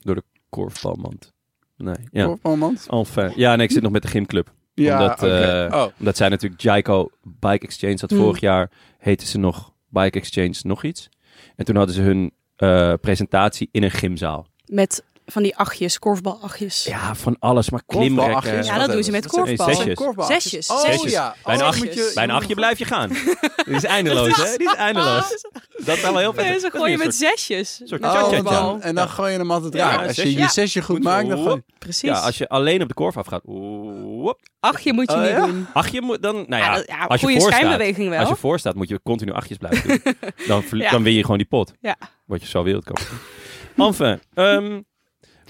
Speaker 4: Korfbalmand. Nee,
Speaker 3: Ja.
Speaker 4: ja. Enfin. Ja, nee, ik zit nog met de gymclub.
Speaker 3: Ja,
Speaker 4: Omdat,
Speaker 3: oké.
Speaker 4: eh,
Speaker 3: oh,
Speaker 4: Omdat zij natuurlijk Jaico Bike Exchange had.
Speaker 5: Mm.
Speaker 4: Vorig jaar heette ze nog Bike Exchange nog iets. En toen hadden ze hun eh, presentatie in een gymzaal.
Speaker 5: Met van die achtjes, korfbalachtjes.
Speaker 4: Ja, van alles. Maar
Speaker 3: Korfbalachtjes.
Speaker 4: klimrekken.
Speaker 5: Ja, dat doen ze met
Speaker 4: zijn
Speaker 5: korfbal.
Speaker 4: zesjes.
Speaker 5: Zesjes.
Speaker 3: Oh
Speaker 4: Zesjes.
Speaker 3: ja.
Speaker 4: Bij een
Speaker 3: Oh,
Speaker 4: achtje-
Speaker 3: moet je-
Speaker 4: Bij een achtje blijf je gaan. Die is eindeloos, hè? Die is
Speaker 5: Ah,
Speaker 4: eindeloos. Dat is wel heel vet.
Speaker 5: Nee, ze
Speaker 4: Dat is
Speaker 5: gooien
Speaker 4: meer
Speaker 5: met zesjes.
Speaker 4: soort
Speaker 5: Met
Speaker 4: cha-cha-cha.
Speaker 3: Oh,
Speaker 5: korfbal.
Speaker 3: en dan,
Speaker 4: korfbal.
Speaker 3: en dan gooi je hem altijd
Speaker 4: Ja,
Speaker 3: raar.
Speaker 4: een
Speaker 3: Als je
Speaker 4: zesje.
Speaker 3: je zesje goed maakt, dan gooi je...
Speaker 5: Precies.
Speaker 4: Ja, als je alleen op de korf afgaat. Whoop.
Speaker 5: Achtje moet je
Speaker 3: Oh,
Speaker 5: niet
Speaker 3: ja?
Speaker 5: doen.
Speaker 4: Ach, je moet dan. Nou
Speaker 3: Ah,
Speaker 4: ja,
Speaker 5: Ja, dat- ja,
Speaker 4: als je
Speaker 5: goede
Speaker 4: voor staat,
Speaker 5: schijnbeweging wel.
Speaker 4: als je voor staat, moet je continu achtjes blijven doen. dan, verlie-
Speaker 5: Ja.
Speaker 4: dan win je gewoon die pot.
Speaker 5: Ja.
Speaker 4: Word je zo wereldkampioen. enfin, ehm,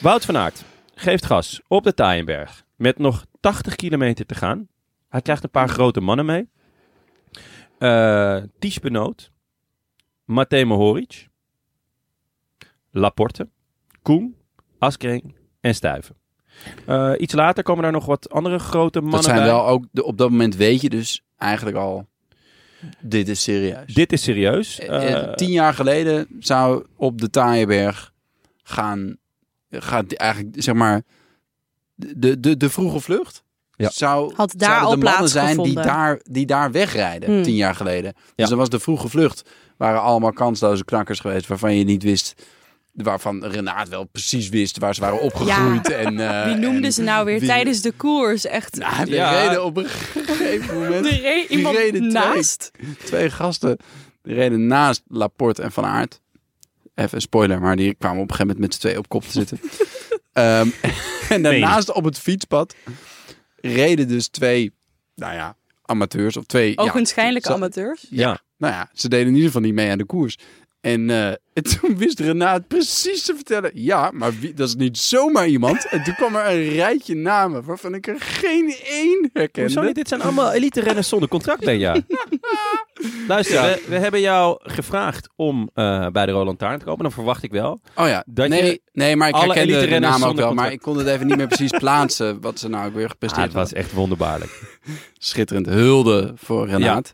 Speaker 4: Wout van Aert geeft gas op de Taaienberg. Met nog 80 kilometer te gaan. Hij krijgt een paar grote mannen mee. Eh Ties Benoot. Matej Mohoric. Laporte. Koen. Askring en Stuiven. Eh, iets later komen daar nog wat andere grote mannen
Speaker 3: Dat zijn
Speaker 4: bij.
Speaker 3: wel ook, de, op dat moment weet je dus eigenlijk al, dit is serieus.
Speaker 4: Dit is serieus.
Speaker 3: Eh, eh,
Speaker 4: Eh,
Speaker 3: tien jaar geleden zou op de Taaienberg gaan, gaat eigenlijk zeg maar de, de, de vroege vlucht.
Speaker 4: Ja.
Speaker 3: Zou,
Speaker 5: Had daar
Speaker 3: zouden
Speaker 5: al
Speaker 3: de mannen zijn die
Speaker 5: plaatsgevonden.
Speaker 3: daar, die daar wegrijden
Speaker 5: Hmm.
Speaker 3: tien jaar geleden. Dus dan was de vroege vlucht, waren allemaal kansloze knakkers geweest waarvan je niet wist, waarvan Renaat wel precies wist waar ze waren opgegroeid. En, eh,
Speaker 5: Wie noemden
Speaker 3: en
Speaker 5: ze nou weer
Speaker 3: wie-
Speaker 5: tijdens de koers? Echt.
Speaker 3: Nou, we
Speaker 4: Ja.
Speaker 3: reden op een gegeven moment
Speaker 5: er reed
Speaker 3: die
Speaker 5: iemand
Speaker 3: reden twee.
Speaker 5: naast.
Speaker 3: twee gasten die reden naast Laporte en Van Aert. Even een spoiler, maar die kwamen op een gegeven moment met z'n twee op kop te zitten. Ehm, en daarnaast op het fietspad reden dus twee, nou ja, amateurs of twee... ja,
Speaker 5: Oogenschijnlijke
Speaker 3: zo-
Speaker 5: amateurs.
Speaker 4: ja.
Speaker 3: Nou ja, ze deden in ieder geval niet mee aan de koers. En, eh, en toen wist Renaat precies te vertellen, ja, maar wie, dat is niet zomaar iemand. En toen kwam er een rijtje namen waarvan ik er geen één herkende.
Speaker 4: Hoezo niet? Dit zijn allemaal elite renners zonder contract, Benja. Luister,
Speaker 3: Ja.
Speaker 4: we, we hebben jou gevraagd om eh, bij de Roland Taarn te komen. Dan verwacht ik wel.
Speaker 3: Oh ja,
Speaker 4: Dat
Speaker 3: nee,
Speaker 4: je
Speaker 3: nee, maar ik
Speaker 4: alle
Speaker 3: herkende
Speaker 4: elite
Speaker 3: de
Speaker 4: renners
Speaker 3: naam ook
Speaker 4: zonder
Speaker 3: wel, maar
Speaker 4: contract-
Speaker 3: ik kon het even niet meer precies plaatsen wat ze nou ook weer
Speaker 4: Ah,
Speaker 3: gepresteerd
Speaker 4: het was echt wonderbaarlijk.
Speaker 3: hadden. Schitterend hulde voor Renaat.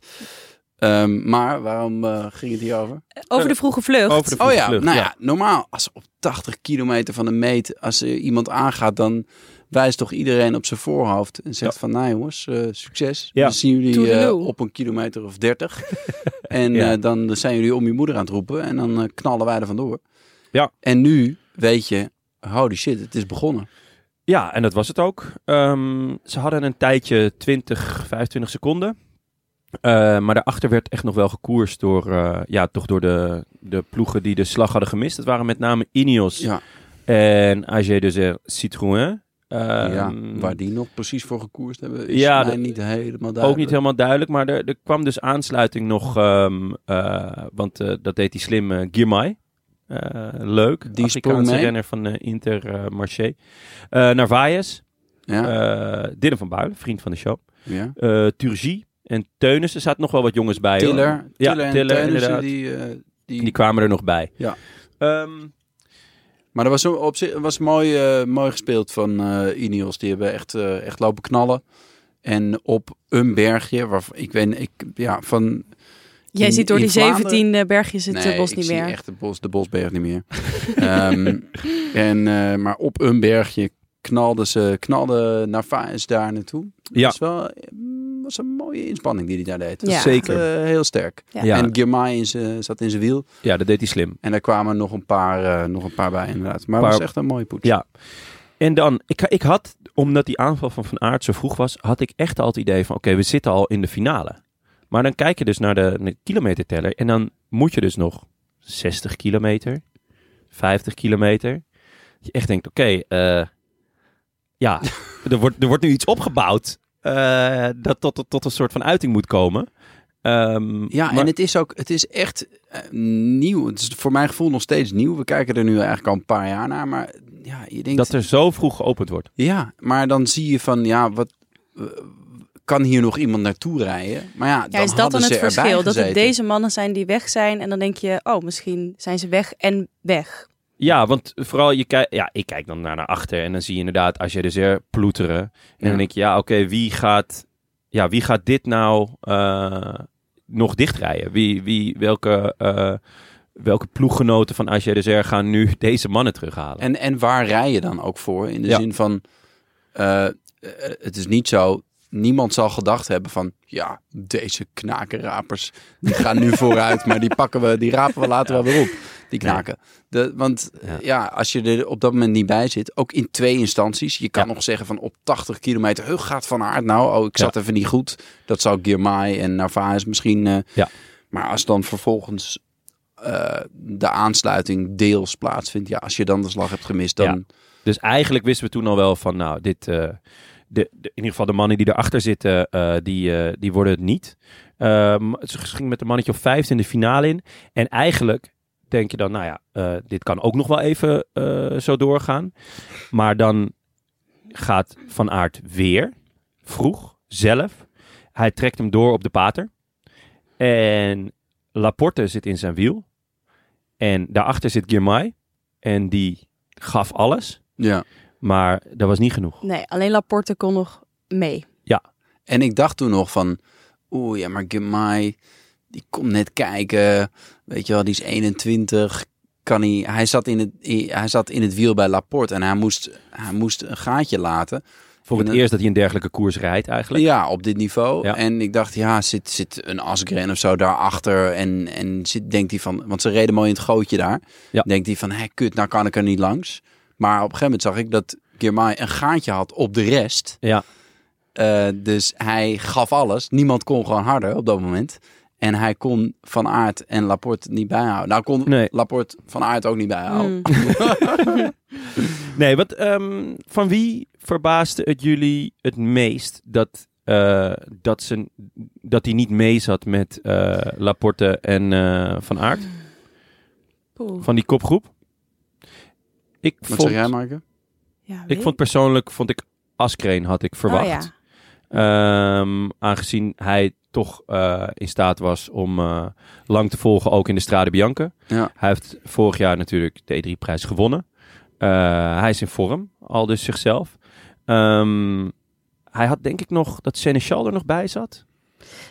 Speaker 3: Ehm, maar waarom eh, ging het hier over?
Speaker 5: Over de vroege vlucht.
Speaker 4: Over de
Speaker 3: Oh ja,
Speaker 4: vlucht,
Speaker 3: nou
Speaker 4: ja.
Speaker 3: ja, normaal als op 80 kilometer van de meet, als er iemand aangaat, dan wijst toch iedereen op zijn voorhoofd en zegt van, nou jongens, eh, succes.
Speaker 4: Ja.
Speaker 3: We zien jullie eh,
Speaker 5: Toedeloe.
Speaker 3: op een kilometer of 30. en
Speaker 4: Ja.
Speaker 3: eh, dan zijn jullie om je moeder aan het roepen en dan eh, knallen wij er vandoor.
Speaker 4: Ja.
Speaker 3: En nu weet je, holy shit, het is begonnen.
Speaker 4: Ja, en dat was het ook. Ehm, ze hadden een tijdje 20, 25 seconden. Eh, maar daarachter werd echt nog wel gekoerst door, eh, ja, toch door de, de ploegen die de slag hadden gemist. Dat waren met name Ineos
Speaker 3: Ja.
Speaker 4: en AG Desert Citroën. Ehm,
Speaker 3: ja, waar die nog precies voor gekoerst hebben, is
Speaker 4: ja,
Speaker 3: mij
Speaker 4: dat-
Speaker 3: niet helemaal duidelijk.
Speaker 4: Ook niet helemaal duidelijk, maar er, er kwam dus aansluiting nog, ehm, eh, want eh, dat deed die slim eh, Girmay. Eh, leuk.
Speaker 3: Die sprong
Speaker 4: Afrikaanse
Speaker 3: mee.
Speaker 4: renner van eh, Intermarché. Eh Narvaez,
Speaker 3: Ja,
Speaker 4: eh Dylan van Builen, vriend van de show.
Speaker 3: ja.
Speaker 4: eh Turgie en Teunissen. Er zaten nog wel wat jongens bij. hoor.
Speaker 3: Tiller,
Speaker 4: Ja,
Speaker 3: Tiller en
Speaker 4: Tiller,
Speaker 3: Teunissen,
Speaker 4: inderdaad.
Speaker 3: die... eh, die...
Speaker 4: Die kwamen er nog bij.
Speaker 3: Ja.
Speaker 4: Ehm,
Speaker 3: Maar dat was, zo- op zich, was mooi, eh, mooi gespeeld van eh Ineos. Die hebben echt, eh, echt lopen knallen. En op een bergje, waar ik weet, ik, ja, van
Speaker 5: Jij
Speaker 3: in-
Speaker 5: ziet door
Speaker 3: in
Speaker 5: die
Speaker 3: Vlaanderen-
Speaker 5: 17 eh, bergjes het eh, bos
Speaker 3: ik
Speaker 5: niet
Speaker 3: zie
Speaker 5: meer.
Speaker 3: echt de, bos, de bosberg niet meer. Ehm, en, eh, maar op een bergje knalden ze knalde Narvaez daar naartoe.
Speaker 4: Ja.
Speaker 3: Dat is wel, mm, was een mooie inspanning die hij daar deed. Dat
Speaker 5: Ja.
Speaker 3: was echt,
Speaker 4: Zeker.
Speaker 3: eh, heel sterk.
Speaker 5: Ja.
Speaker 4: ja.
Speaker 3: En Girmay in zijn- zat in zijn wiel.
Speaker 4: ja, dat deed hij slim.
Speaker 3: En daar kwamen nog een paar, eh, nog een paar bij inderdaad. Maar het
Speaker 4: Paar-
Speaker 3: was echt een mooie poets.
Speaker 4: Ja. En dan, ik, ik had, omdat die aanval van Van Aert zo vroeg was, had ik echt al het idee van, oké, we zitten al in de finale. Maar dan kijk je dus naar de, de kilometerteller en dan moet je dus nog 60 kilometer, 50 kilometer. Dat je echt denkt, oké, eh, ja, er wordt, er wordt nu iets opgebouwd eh, dat tot, tot, tot een soort van uiting moet komen. Ehm,
Speaker 3: Ja,
Speaker 4: maar-
Speaker 3: en het is ook, het is echt eh, nieuw. Het is voor mijn gevoel nog steeds nieuw. We kijken er nu eigenlijk al een paar jaar naar, maar ja, je denkt,
Speaker 4: dat er zo vroeg geopend wordt.
Speaker 3: ja, maar dan zie je van, ja, wat eh, kan hier nog iemand naartoe rijden? Maar ja,
Speaker 5: Ja,
Speaker 3: dan
Speaker 5: is dat
Speaker 3: hadden
Speaker 5: dan het
Speaker 3: ze erbij
Speaker 5: verschil? Dat het
Speaker 3: gezeten.
Speaker 5: deze mannen zijn die weg zijn en dan denk je, oh, misschien zijn ze weg en weg.
Speaker 4: Ja, want vooral je kijkt. Ja, ik kijk dan naar, naar achter en dan zie je inderdaad als je dus er ploeteren. En
Speaker 3: Ja.
Speaker 4: dan denk je, ja, oké, wie gaat. Ja, wie gaat dit nou eh, nog dichtrijden? Wie, wie, welke, eh, welke ploeggenoten van AG dus er gaan nu deze mannen terughalen?
Speaker 3: En, en waar rij je dan ook voor? In de
Speaker 4: Ja.
Speaker 3: zin van, eh, eh, het is niet zo... Niemand zal gedacht hebben van, ja, deze knakenrapers, die gaan nu vooruit, maar die pakken we, die rapen we later wel weer op, die knaken. De, want ja.
Speaker 4: Ja.
Speaker 3: als je er op dat moment niet bij zit, ook in twee instanties, je kan
Speaker 4: Ja.
Speaker 3: nog zeggen van op 80 kilometer, hug gaat Van Aert nou, oh, ik zat even niet goed. Dat zou Girmay en Narvaez misschien... eh,
Speaker 4: Ja.
Speaker 3: Maar als dan vervolgens eh, de aansluiting deels plaatsvindt. Ja, als je dan de slag hebt gemist, dan...
Speaker 4: Ja. Dus eigenlijk wisten we toen al wel van, nou, dit, eh, de, de- in ieder geval de mannen die erachter zitten, eh, die, eh, die worden het niet. Ehm, ze ging met een mannetje of vijf in de finale in. En eigenlijk denk je dan, nou ja, eh, dit kan ook nog wel even eh, zo doorgaan. Maar dan gaat Van Aert weer, vroeg, zelf. Hij trekt hem door op de pater. En Laporte zit in zijn wiel. En daarachter zit Girmay. En die gaf alles,
Speaker 3: Ja.
Speaker 4: maar dat was niet genoeg.
Speaker 5: Nee, alleen Laporte kon nog mee.
Speaker 3: En ik dacht toen nog van, oeh ja, maar Gemai, die komt net kijken. Weet je wel, die is 21. Kan hij, hij, zat in het, hij zat in het wiel bij Laporte en hij moest, hij moest een gaatje laten.
Speaker 4: Voor het
Speaker 3: En-
Speaker 4: eerst dat hij een dergelijke koers rijdt eigenlijk.
Speaker 3: Ja, op dit niveau.
Speaker 4: Ja.
Speaker 3: En ik dacht, ja, zit, zit een Asgren of zo daarachter? En, en zit, denkt hij van, want ze reden mooi in het gootje daar.
Speaker 4: Ja.
Speaker 3: Denkt hij van, hé, kut, nou kan ik er niet langs. Maar op een gegeven moment zag ik dat Girmay een gaatje had op de rest.
Speaker 4: Ja.
Speaker 3: Eh, dus hij gaf alles. Niemand kon gewoon harder op dat moment. En hij kon Van Aert en Laporte niet bijhouden. Nou kon
Speaker 4: Nee.
Speaker 3: Laporte Van Aert ook niet bijhouden.
Speaker 5: Mm.
Speaker 4: Nee, wat, ehm, van wie verbaasde het jullie het meest dat, eh, dat, ze, dat hij niet mee zat met eh, Laporte en eh, Van Aert?
Speaker 5: Poeh.
Speaker 4: Van die kopgroep? Ik
Speaker 3: Wat
Speaker 4: vond,
Speaker 3: zeg jij, Marke?
Speaker 5: Ja, weet
Speaker 4: ik vond persoonlijk, vond ik Askreen had ik verwacht.
Speaker 5: Oh, ja.
Speaker 4: Ehm, aangezien hij toch eh, in staat was om eh, lang te volgen, ook in de Strade Bianca.
Speaker 3: Ja.
Speaker 4: Hij heeft vorig jaar natuurlijk de E3-prijs gewonnen. Eh, hij is in vorm, al dus zichzelf. Ehm, hij had denk ik nog dat Seneschal er nog bij zat.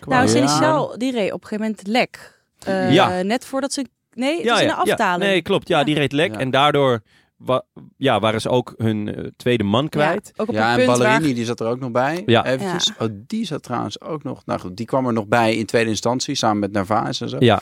Speaker 5: Nou,
Speaker 3: Ja.
Speaker 5: Seneschal, die reed op een gegeven moment lek. Eh,
Speaker 4: Ja.
Speaker 5: Net voordat ze... Nee, het is een afdaling.
Speaker 4: nee, klopt. Ja,
Speaker 5: Ja.
Speaker 4: die reed lek.
Speaker 3: Ja.
Speaker 4: En daardoor wa- ja, waren ze ook hun eh, tweede man kwijt.
Speaker 5: Ja, ook op
Speaker 3: Ja,
Speaker 5: een
Speaker 3: en
Speaker 5: punt
Speaker 3: Ballerini,
Speaker 5: waar...
Speaker 3: die zat er ook nog bij.
Speaker 4: Ja.
Speaker 3: Eventjes. Oh, die zat trouwens ook nog. Nou goed, die kwam er nog bij in tweede instantie samen met Narvaez en zo.
Speaker 4: Ja.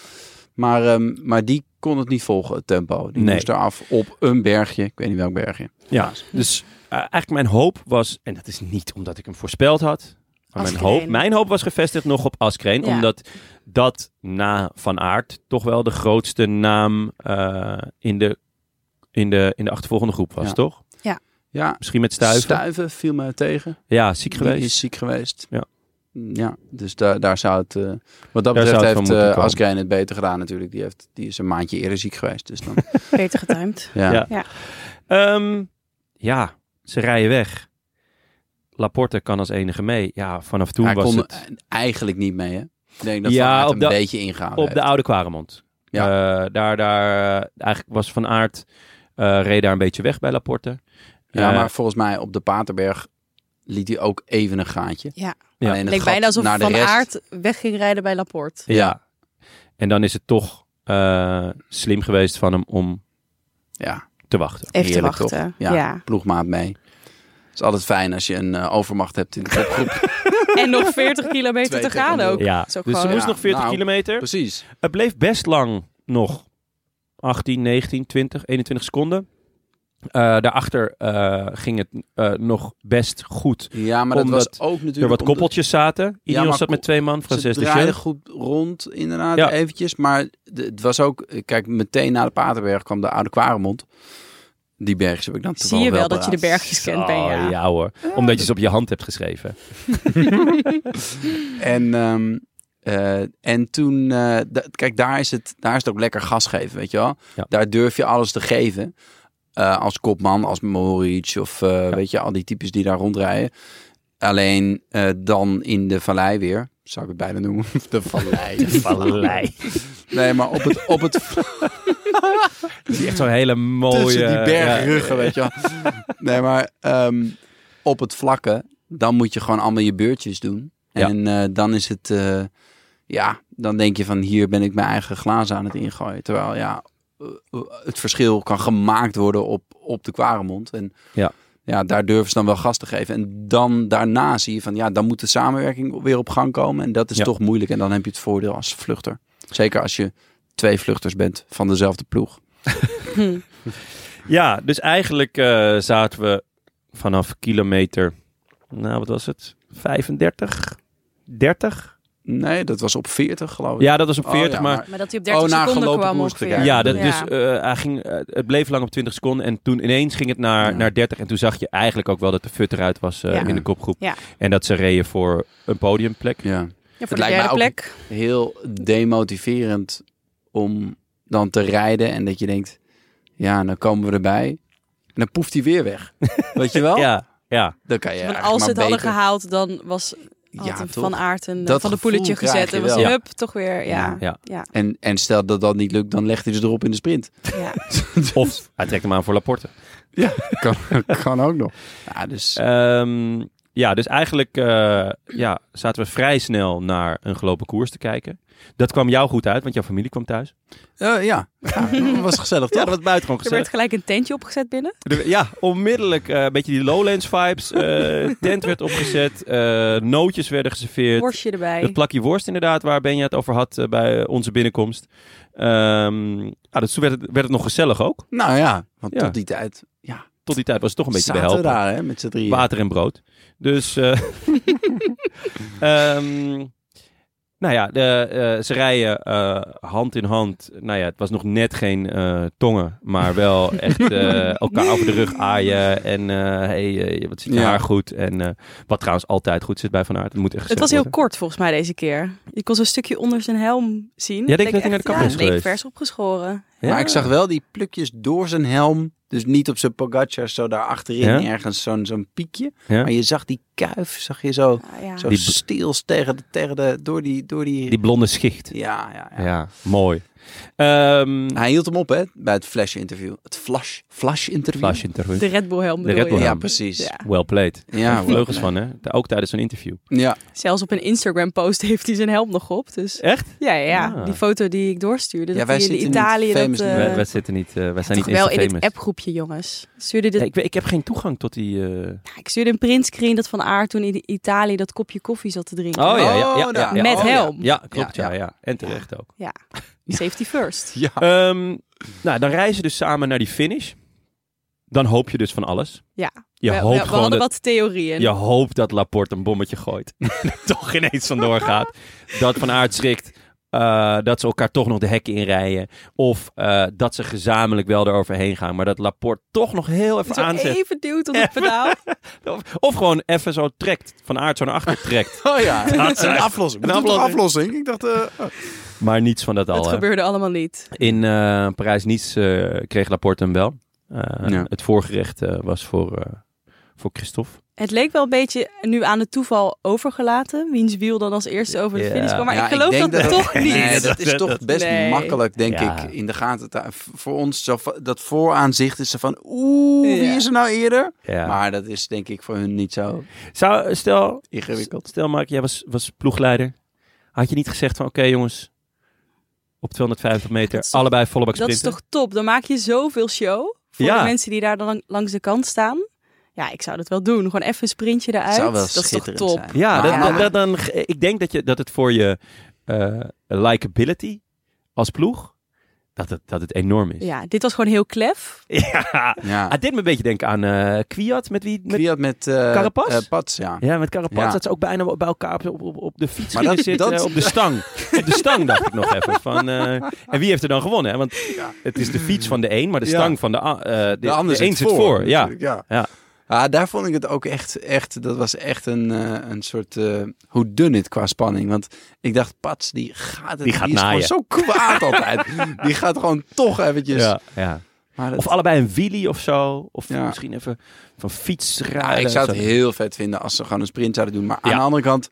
Speaker 3: Maar, ehm, maar die kon het niet volgen, het tempo. Die
Speaker 4: Nee.
Speaker 3: moest eraf op een bergje. Ik weet niet welk bergje.
Speaker 4: Ja, dus eh, eigenlijk mijn hoop was, en dat is niet omdat ik hem voorspeld had, maar mijn
Speaker 5: Askreen.
Speaker 4: hoop, mijn hoop was gevestigd nog op Askreen,
Speaker 5: Ja.
Speaker 4: omdat dat na Van Aert toch wel de grootste naam eh, in, de, in, de, in de achtervolgende groep was,
Speaker 3: Ja.
Speaker 4: toch?
Speaker 3: Ja,
Speaker 4: Misschien met Stuiven.
Speaker 3: viel mij tegen.
Speaker 4: ja, ziek
Speaker 3: Die
Speaker 4: geweest.
Speaker 3: is ziek geweest.
Speaker 4: Ja.
Speaker 3: Ja, dus daar daar zou het... eh, wat dat
Speaker 4: Daar zou
Speaker 3: betreft
Speaker 4: het van
Speaker 3: heeft
Speaker 4: moeten
Speaker 3: eh
Speaker 4: komen.
Speaker 3: Asgreen het beter gedaan natuurlijk. Die, heeft, die is een maandje eerder ziek geweest. Dus dan,
Speaker 5: Beter getimed.
Speaker 3: ja.
Speaker 4: Ja.
Speaker 3: Ja.
Speaker 4: Ehm, ja, ze rijden weg. Laporte kan als enige mee. Ja, vanaf toen
Speaker 3: Hij
Speaker 4: was
Speaker 3: kon
Speaker 4: het...
Speaker 3: eigenlijk niet mee, hè? Ik denk dat
Speaker 4: Ja,
Speaker 3: Van Aert
Speaker 4: op
Speaker 3: een
Speaker 4: de-
Speaker 3: beetje ingehaald
Speaker 4: Op
Speaker 3: heeft.
Speaker 4: de Oude Quaremont.
Speaker 3: Ja.
Speaker 4: Eh, daar, daar, eh, eigenlijk was Van Aert, eh, reed daar een beetje weg bij Laporte.
Speaker 3: Ja,
Speaker 4: Eh,
Speaker 3: maar volgens mij op de Paterberg liet hij ook even een gaatje.
Speaker 5: Ja.
Speaker 4: Ja.
Speaker 3: Alleen het
Speaker 5: leek
Speaker 3: gat
Speaker 5: bijna alsof
Speaker 3: naar de
Speaker 5: Van
Speaker 3: rest-
Speaker 5: Aert weg ging rijden bij Laporte.
Speaker 4: Ja. En dan is het toch eh, slim geweest van hem om
Speaker 3: Ja,
Speaker 4: te wachten.
Speaker 5: Even
Speaker 3: Heerlijk,
Speaker 5: te wachten.
Speaker 3: Ja.
Speaker 5: Ja.
Speaker 3: ploegmaat mee. Het is altijd fijn als je een eh, overmacht hebt in de groep.
Speaker 5: En nog 40 kilometer
Speaker 3: Twee
Speaker 5: te gaan
Speaker 3: tegen
Speaker 5: ook.
Speaker 3: nul.
Speaker 4: Ja,
Speaker 5: Is ook
Speaker 4: dus ze
Speaker 5: gewoon-
Speaker 4: moest
Speaker 3: Ja,
Speaker 4: nog 40
Speaker 3: nou,
Speaker 4: kilometer.
Speaker 3: Precies.
Speaker 4: Het bleef best lang nog. 18, 19, 20, 21 seconden. Eh, daarachter eh, ging het eh, nog best goed.
Speaker 3: Ja, maar
Speaker 4: Omdat
Speaker 3: dat was ook natuurlijk...
Speaker 4: Er wat
Speaker 3: omdat-
Speaker 4: koppeltjes zaten. Iedereen
Speaker 3: maar
Speaker 4: zat met
Speaker 3: ko-
Speaker 4: twee man.
Speaker 3: Ze
Speaker 4: Frances de
Speaker 3: draaiden
Speaker 4: Chef.
Speaker 3: goed rond, inderdaad,
Speaker 4: Ja.
Speaker 3: eventjes. Maar de- het was ook... eh, Kijk, meteen na de Paterberg kwam de Oude Kwaremond. Die bergjes heb ik dan
Speaker 5: Zie
Speaker 3: toevallig
Speaker 5: je wel dat je de
Speaker 3: paraat.
Speaker 5: bergjes kent, ben
Speaker 4: Oh,
Speaker 5: ja.
Speaker 4: ja hoor. Omdat je ze op je hand hebt geschreven.
Speaker 3: En, ehm, eh, en toen, eh, da- kijk, daar is, het, daar is het ook lekker gas geven, weet je wel.
Speaker 4: Ja.
Speaker 3: Daar durf je alles te geven. Eh, als kopman, als Moritz of eh, weet je, al die types die daar rondrijden. Alleen eh, dan in de vallei weer, zou ik het bijna noemen. De vallei.
Speaker 4: Vallei.
Speaker 3: Nee, maar op het, op het,
Speaker 4: Echt zo'n hele mooie...
Speaker 3: tussen die
Speaker 4: ja.
Speaker 3: bergruggen, weet je wel. Nee, maar ehm, op het vlakke, dan moet je gewoon allemaal je beurtjes doen.
Speaker 4: Ja.
Speaker 3: En eh, dan is het, eh, ja, dan denk je van hier ben ik mijn eigen glazen aan het ingooien. Terwijl ja, eh, eh, het verschil kan gemaakt worden op, op de kwaremond. En
Speaker 4: Ja.
Speaker 3: ja, daar durven ze dan wel gas te geven. En dan daarna zie je van ja, dan moet de samenwerking weer op gang komen. En dat is
Speaker 4: Ja.
Speaker 3: toch moeilijk. En dan heb je het voordeel als vluchter. Zeker als je twee vluchters bent van dezelfde ploeg.
Speaker 4: Ja, dus eigenlijk eh, zaten we vanaf kilometer, nou wat was het, 35, 30?
Speaker 3: Nee, dat was op 40 geloof ik.
Speaker 4: Ja, dat was op
Speaker 3: Oh,
Speaker 4: 40,
Speaker 3: ja,
Speaker 4: maar...
Speaker 5: Maar dat hij op
Speaker 3: Oh,
Speaker 5: 30
Speaker 3: na
Speaker 5: seconden
Speaker 3: gelopen
Speaker 5: kwam
Speaker 3: koers
Speaker 5: ongeveer.
Speaker 3: te
Speaker 4: Ja, dat, dus eh, hij ging, eh, het bleef lang op 20 seconden en toen ineens ging het naar,
Speaker 3: Ja.
Speaker 4: naar 30. En toen zag je eigenlijk ook wel dat de fut eruit was eh,
Speaker 5: Ja.
Speaker 4: in de kopgroep.
Speaker 5: Ja.
Speaker 4: En dat ze reden voor een podiumplek.
Speaker 3: Ja.
Speaker 5: Ja, voor
Speaker 3: Het
Speaker 5: de
Speaker 3: lijkt mij
Speaker 5: derde
Speaker 3: ook-
Speaker 5: plek.
Speaker 3: Heel demotiverend om dan te rijden en dat je denkt, ja, dan komen we erbij. En dan poeft hij weer weg. Weet je wel?
Speaker 4: Ja, ja.
Speaker 3: Dan kan je
Speaker 5: Want
Speaker 3: eigenlijk
Speaker 5: als ze
Speaker 3: maar
Speaker 5: het hadden
Speaker 3: beter-
Speaker 5: gehaald, dan was Had
Speaker 3: ja,
Speaker 5: hem
Speaker 3: toch?
Speaker 5: Van Aert en eh,
Speaker 3: Dat
Speaker 5: van de
Speaker 3: gevoel
Speaker 5: poeletje
Speaker 3: krijg
Speaker 5: gezet.
Speaker 3: je
Speaker 5: En was
Speaker 3: wel.
Speaker 5: hup, toch weer. Ja,
Speaker 4: Ja.
Speaker 5: ja. ja,
Speaker 3: En, en stel dat dat niet lukt, dan legt hij ze erop in de sprint.
Speaker 4: Of hij trekt hem aan voor Laporte.
Speaker 3: kan, kan ook nog. Ja, dus
Speaker 4: Ehm, ja, dus eigenlijk eh, ja, zaten we vrij snel naar een gelopen koers te kijken. Dat kwam jou goed uit, want jouw familie kwam thuis.
Speaker 3: eh, ja, ja, was gezellig toch?
Speaker 4: Ja, dat was buitengewoon
Speaker 5: Er
Speaker 4: gezellig.
Speaker 5: werd gelijk een tentje opgezet binnen.
Speaker 4: Er- Ja, onmiddellijk eh, een beetje die Lowlands vibes. eh, tent werd opgezet, eh, nootjes werden geserveerd.
Speaker 5: Worstje erbij.
Speaker 4: Dat plakje worst inderdaad, waar Benja het over had eh, bij onze binnenkomst. Ehm ja, dus toen werd het, werd het nog gezellig ook.
Speaker 3: Nou ja, want
Speaker 4: Ja.
Speaker 3: tot die tijd ja,
Speaker 4: Tot die tijd was het toch een beetje de
Speaker 3: zaten we
Speaker 4: helpen.
Speaker 3: daar hè, met z'n drieën.
Speaker 4: Water en brood. Dus. eh, ehm, nou ja, de, eh, ze rijden eh, hand in hand. Nou ja, het was nog net geen eh, tongen, maar wel echt eh, elkaar over de rug aaien. En eh, hey, eh, wat zit je
Speaker 3: Ja.
Speaker 4: haar goed? En eh, wat trouwens altijd goed zit bij Van Aert. Het moet echt
Speaker 5: Het
Speaker 4: gezegd
Speaker 5: was heel
Speaker 4: worden.
Speaker 5: kort volgens mij deze keer. Je kon zo'n stukje onder zijn helm zien.
Speaker 4: Ja, denk je dat hij naar de kapper
Speaker 5: ja,
Speaker 4: is
Speaker 5: het leek
Speaker 4: geweest?
Speaker 5: vers opgeschoren.
Speaker 4: Ja.
Speaker 3: Maar ik zag wel die plukjes door zijn helm. Dus niet op zijn Pogacar, zo daar achterin
Speaker 4: Ja.
Speaker 3: ergens zo'n zo'n piekje.
Speaker 4: Ja.
Speaker 3: Maar je zag die kuif, zag je zo,
Speaker 5: Ah, ja.
Speaker 3: zo
Speaker 4: Die-
Speaker 3: stils tegen de, tegen de, door die, door die...
Speaker 4: Die blonde schicht.
Speaker 3: Ja, ja, ja,
Speaker 4: Ja, mooi. Ehm
Speaker 3: Hij hield hem op, hè, bij het flash-interview. Het flash, flash-interview?
Speaker 4: Flash interview.
Speaker 5: De Red Bull helm
Speaker 4: De
Speaker 5: bedoel
Speaker 4: Red Bull
Speaker 5: je?
Speaker 3: ja,
Speaker 4: helm.
Speaker 3: precies. Ja,
Speaker 5: Ja.
Speaker 4: Well played.
Speaker 3: ja,
Speaker 4: Vleugels van, hè? Ook tijdens zo'n interview.
Speaker 3: Ja,
Speaker 5: Zelfs op een Instagram post heeft hij zijn helm nog op. Dus
Speaker 4: Echt?
Speaker 5: ja, ja, ja.
Speaker 4: Ah.
Speaker 5: die foto die ik doorstuurde.
Speaker 3: Ja,
Speaker 5: dat
Speaker 3: wij
Speaker 5: hij in
Speaker 3: zitten niet
Speaker 5: Italië.
Speaker 3: famous,
Speaker 5: Dat,
Speaker 3: niet?
Speaker 5: eh,
Speaker 4: wij, wij zitten niet, eh, wij zijn
Speaker 5: toch
Speaker 4: niet
Speaker 5: wel in
Speaker 4: Insta-famous.
Speaker 5: het appgroepje, jongens. Stuurde dit,
Speaker 4: Ja, ik, weet- ik heb geen toegang tot die... eh,
Speaker 5: Nou, ik stuurde een printscreen dat Van Aert toen in Italië dat kopje koffie zat te drinken.
Speaker 4: Oh, ja, ja, ja,
Speaker 3: Oh,
Speaker 4: ja,
Speaker 3: daar.
Speaker 4: ja.
Speaker 5: Met
Speaker 3: Oh, ja.
Speaker 5: helm.
Speaker 4: Ja, klopt. Ja,
Speaker 3: Ja,
Speaker 4: ja, En terecht ook.
Speaker 5: Safety first.
Speaker 3: Ja.
Speaker 4: Ehm, nou, dan reizen ze dus samen naar die finish. Dan hoop je dus van alles.
Speaker 5: Ja.
Speaker 4: Je
Speaker 5: we, we-
Speaker 4: hoopt
Speaker 5: we
Speaker 4: gewoon
Speaker 5: hadden
Speaker 4: dat,
Speaker 5: wat theorieën.
Speaker 4: je hoopt dat Laporte een bommetje gooit. toch ineens vandoor gaat. Dat Van Aert schrikt. eh, dat ze elkaar toch nog de hekken inrijden. Of eh, dat ze gezamenlijk wel eroverheen gaan. Maar dat Laporte toch nog heel even
Speaker 5: Zo
Speaker 4: aanzet.
Speaker 5: even duwt op het pedaal.
Speaker 4: Of, of gewoon even zo trekt. Van Aert zo naar achter trekt.
Speaker 3: Oh ja,
Speaker 4: Dat
Speaker 3: een
Speaker 4: is-
Speaker 3: aflossing.
Speaker 4: Een
Speaker 3: Een aflossing.
Speaker 4: aflossing.
Speaker 3: aflossing. Ik dacht, eh,
Speaker 4: Maar niets van dat al.
Speaker 5: Het
Speaker 4: hè.
Speaker 5: gebeurde allemaal niet.
Speaker 4: In eh, Parijs-Nice eh, kreeg Laporte hem wel. Eh,
Speaker 3: Ja.
Speaker 4: Het voorgerecht eh, was voor, eh, voor Christophe.
Speaker 5: Het leek wel een beetje nu aan het toeval overgelaten. Wiens wiel dan als eerste over de
Speaker 4: Ja.
Speaker 5: finish kwam. Maar
Speaker 3: Ja,
Speaker 5: ik geloof
Speaker 3: denk
Speaker 5: dat, toch niet.
Speaker 3: Nee, dat is
Speaker 4: Dat-
Speaker 3: toch
Speaker 4: dat-
Speaker 3: best
Speaker 5: Nee.
Speaker 3: makkelijk, denk
Speaker 4: Ja.
Speaker 3: ik, in de gaten. te- Voor ons, zo, va- dat vooraanzicht is ze van, oeh, wie
Speaker 5: Ja.
Speaker 3: is er nou eerder?
Speaker 4: Ja.
Speaker 3: Maar dat is denk ik voor hun niet zo
Speaker 4: Zou, stel,
Speaker 3: ingewikkeld.
Speaker 4: stel Mark, jij was, was ploegleider. Had je niet gezegd van, oké jongens, op 250 meter,
Speaker 5: Dat is toch-
Speaker 4: allebei volle bak
Speaker 5: Dat is
Speaker 4: sprinten?
Speaker 5: toch top. Dan maak je zoveel show. Voor
Speaker 4: Ja.
Speaker 5: de mensen die daar dan lang- langs de kant staan. Ja, ik zou dat wel doen. Gewoon even een sprintje
Speaker 3: Het
Speaker 5: eruit.
Speaker 3: zou wel
Speaker 5: dat is toch
Speaker 3: schitterend
Speaker 5: top.
Speaker 3: zijn.
Speaker 4: Ja,
Speaker 3: Maar-
Speaker 4: dat, dat- dat dan, ik denk dat, je, dat het voor je eh likability als ploeg, dat het, dat het enorm is.
Speaker 5: Ja, dit was gewoon heel klef.
Speaker 4: Ja.
Speaker 3: ja.
Speaker 4: Het deed me een beetje denken aan eh Kwiat, met wie... Met,
Speaker 3: Kwiat met eh
Speaker 4: Carapaz?
Speaker 3: eh, Pats, ja.
Speaker 4: Ja, met Carapaz
Speaker 3: Ja.
Speaker 4: dat ze ook bijna bij elkaar op, op, op de fiets
Speaker 3: Maar
Speaker 4: gingen
Speaker 3: dat-
Speaker 4: zitten.
Speaker 3: dat-
Speaker 4: Op de stang. op de stang dacht ik nog even. Van, eh, en wie heeft er dan gewonnen? Hè? Want het is de fiets van de een, maar de
Speaker 3: Ja.
Speaker 4: stang van de, a- eh, de,
Speaker 3: De ander
Speaker 4: de een
Speaker 3: zit voor.
Speaker 4: Ja.
Speaker 3: natuurlijk, ja.
Speaker 4: Ja.
Speaker 3: Ah, daar vond ik het ook echt, echt dat was echt een, eh, een soort eh, hoe dun het qua spanning. Want ik dacht, Pats, die gaat het,
Speaker 4: Die gaat
Speaker 3: is gewoon
Speaker 4: naaien.
Speaker 3: zo kwaad altijd. die gaat gewoon toch eventjes.
Speaker 4: Ja, ja.
Speaker 3: Maar dat-
Speaker 4: Of allebei een wheelie of zo. Of
Speaker 3: Ja.
Speaker 4: misschien even van fiets
Speaker 3: Ja,
Speaker 4: rijden.
Speaker 3: ik zou
Speaker 4: Zo.
Speaker 3: het heel vet vinden als ze gewoon een sprint zouden doen. Maar
Speaker 4: Ja.
Speaker 3: aan de andere kant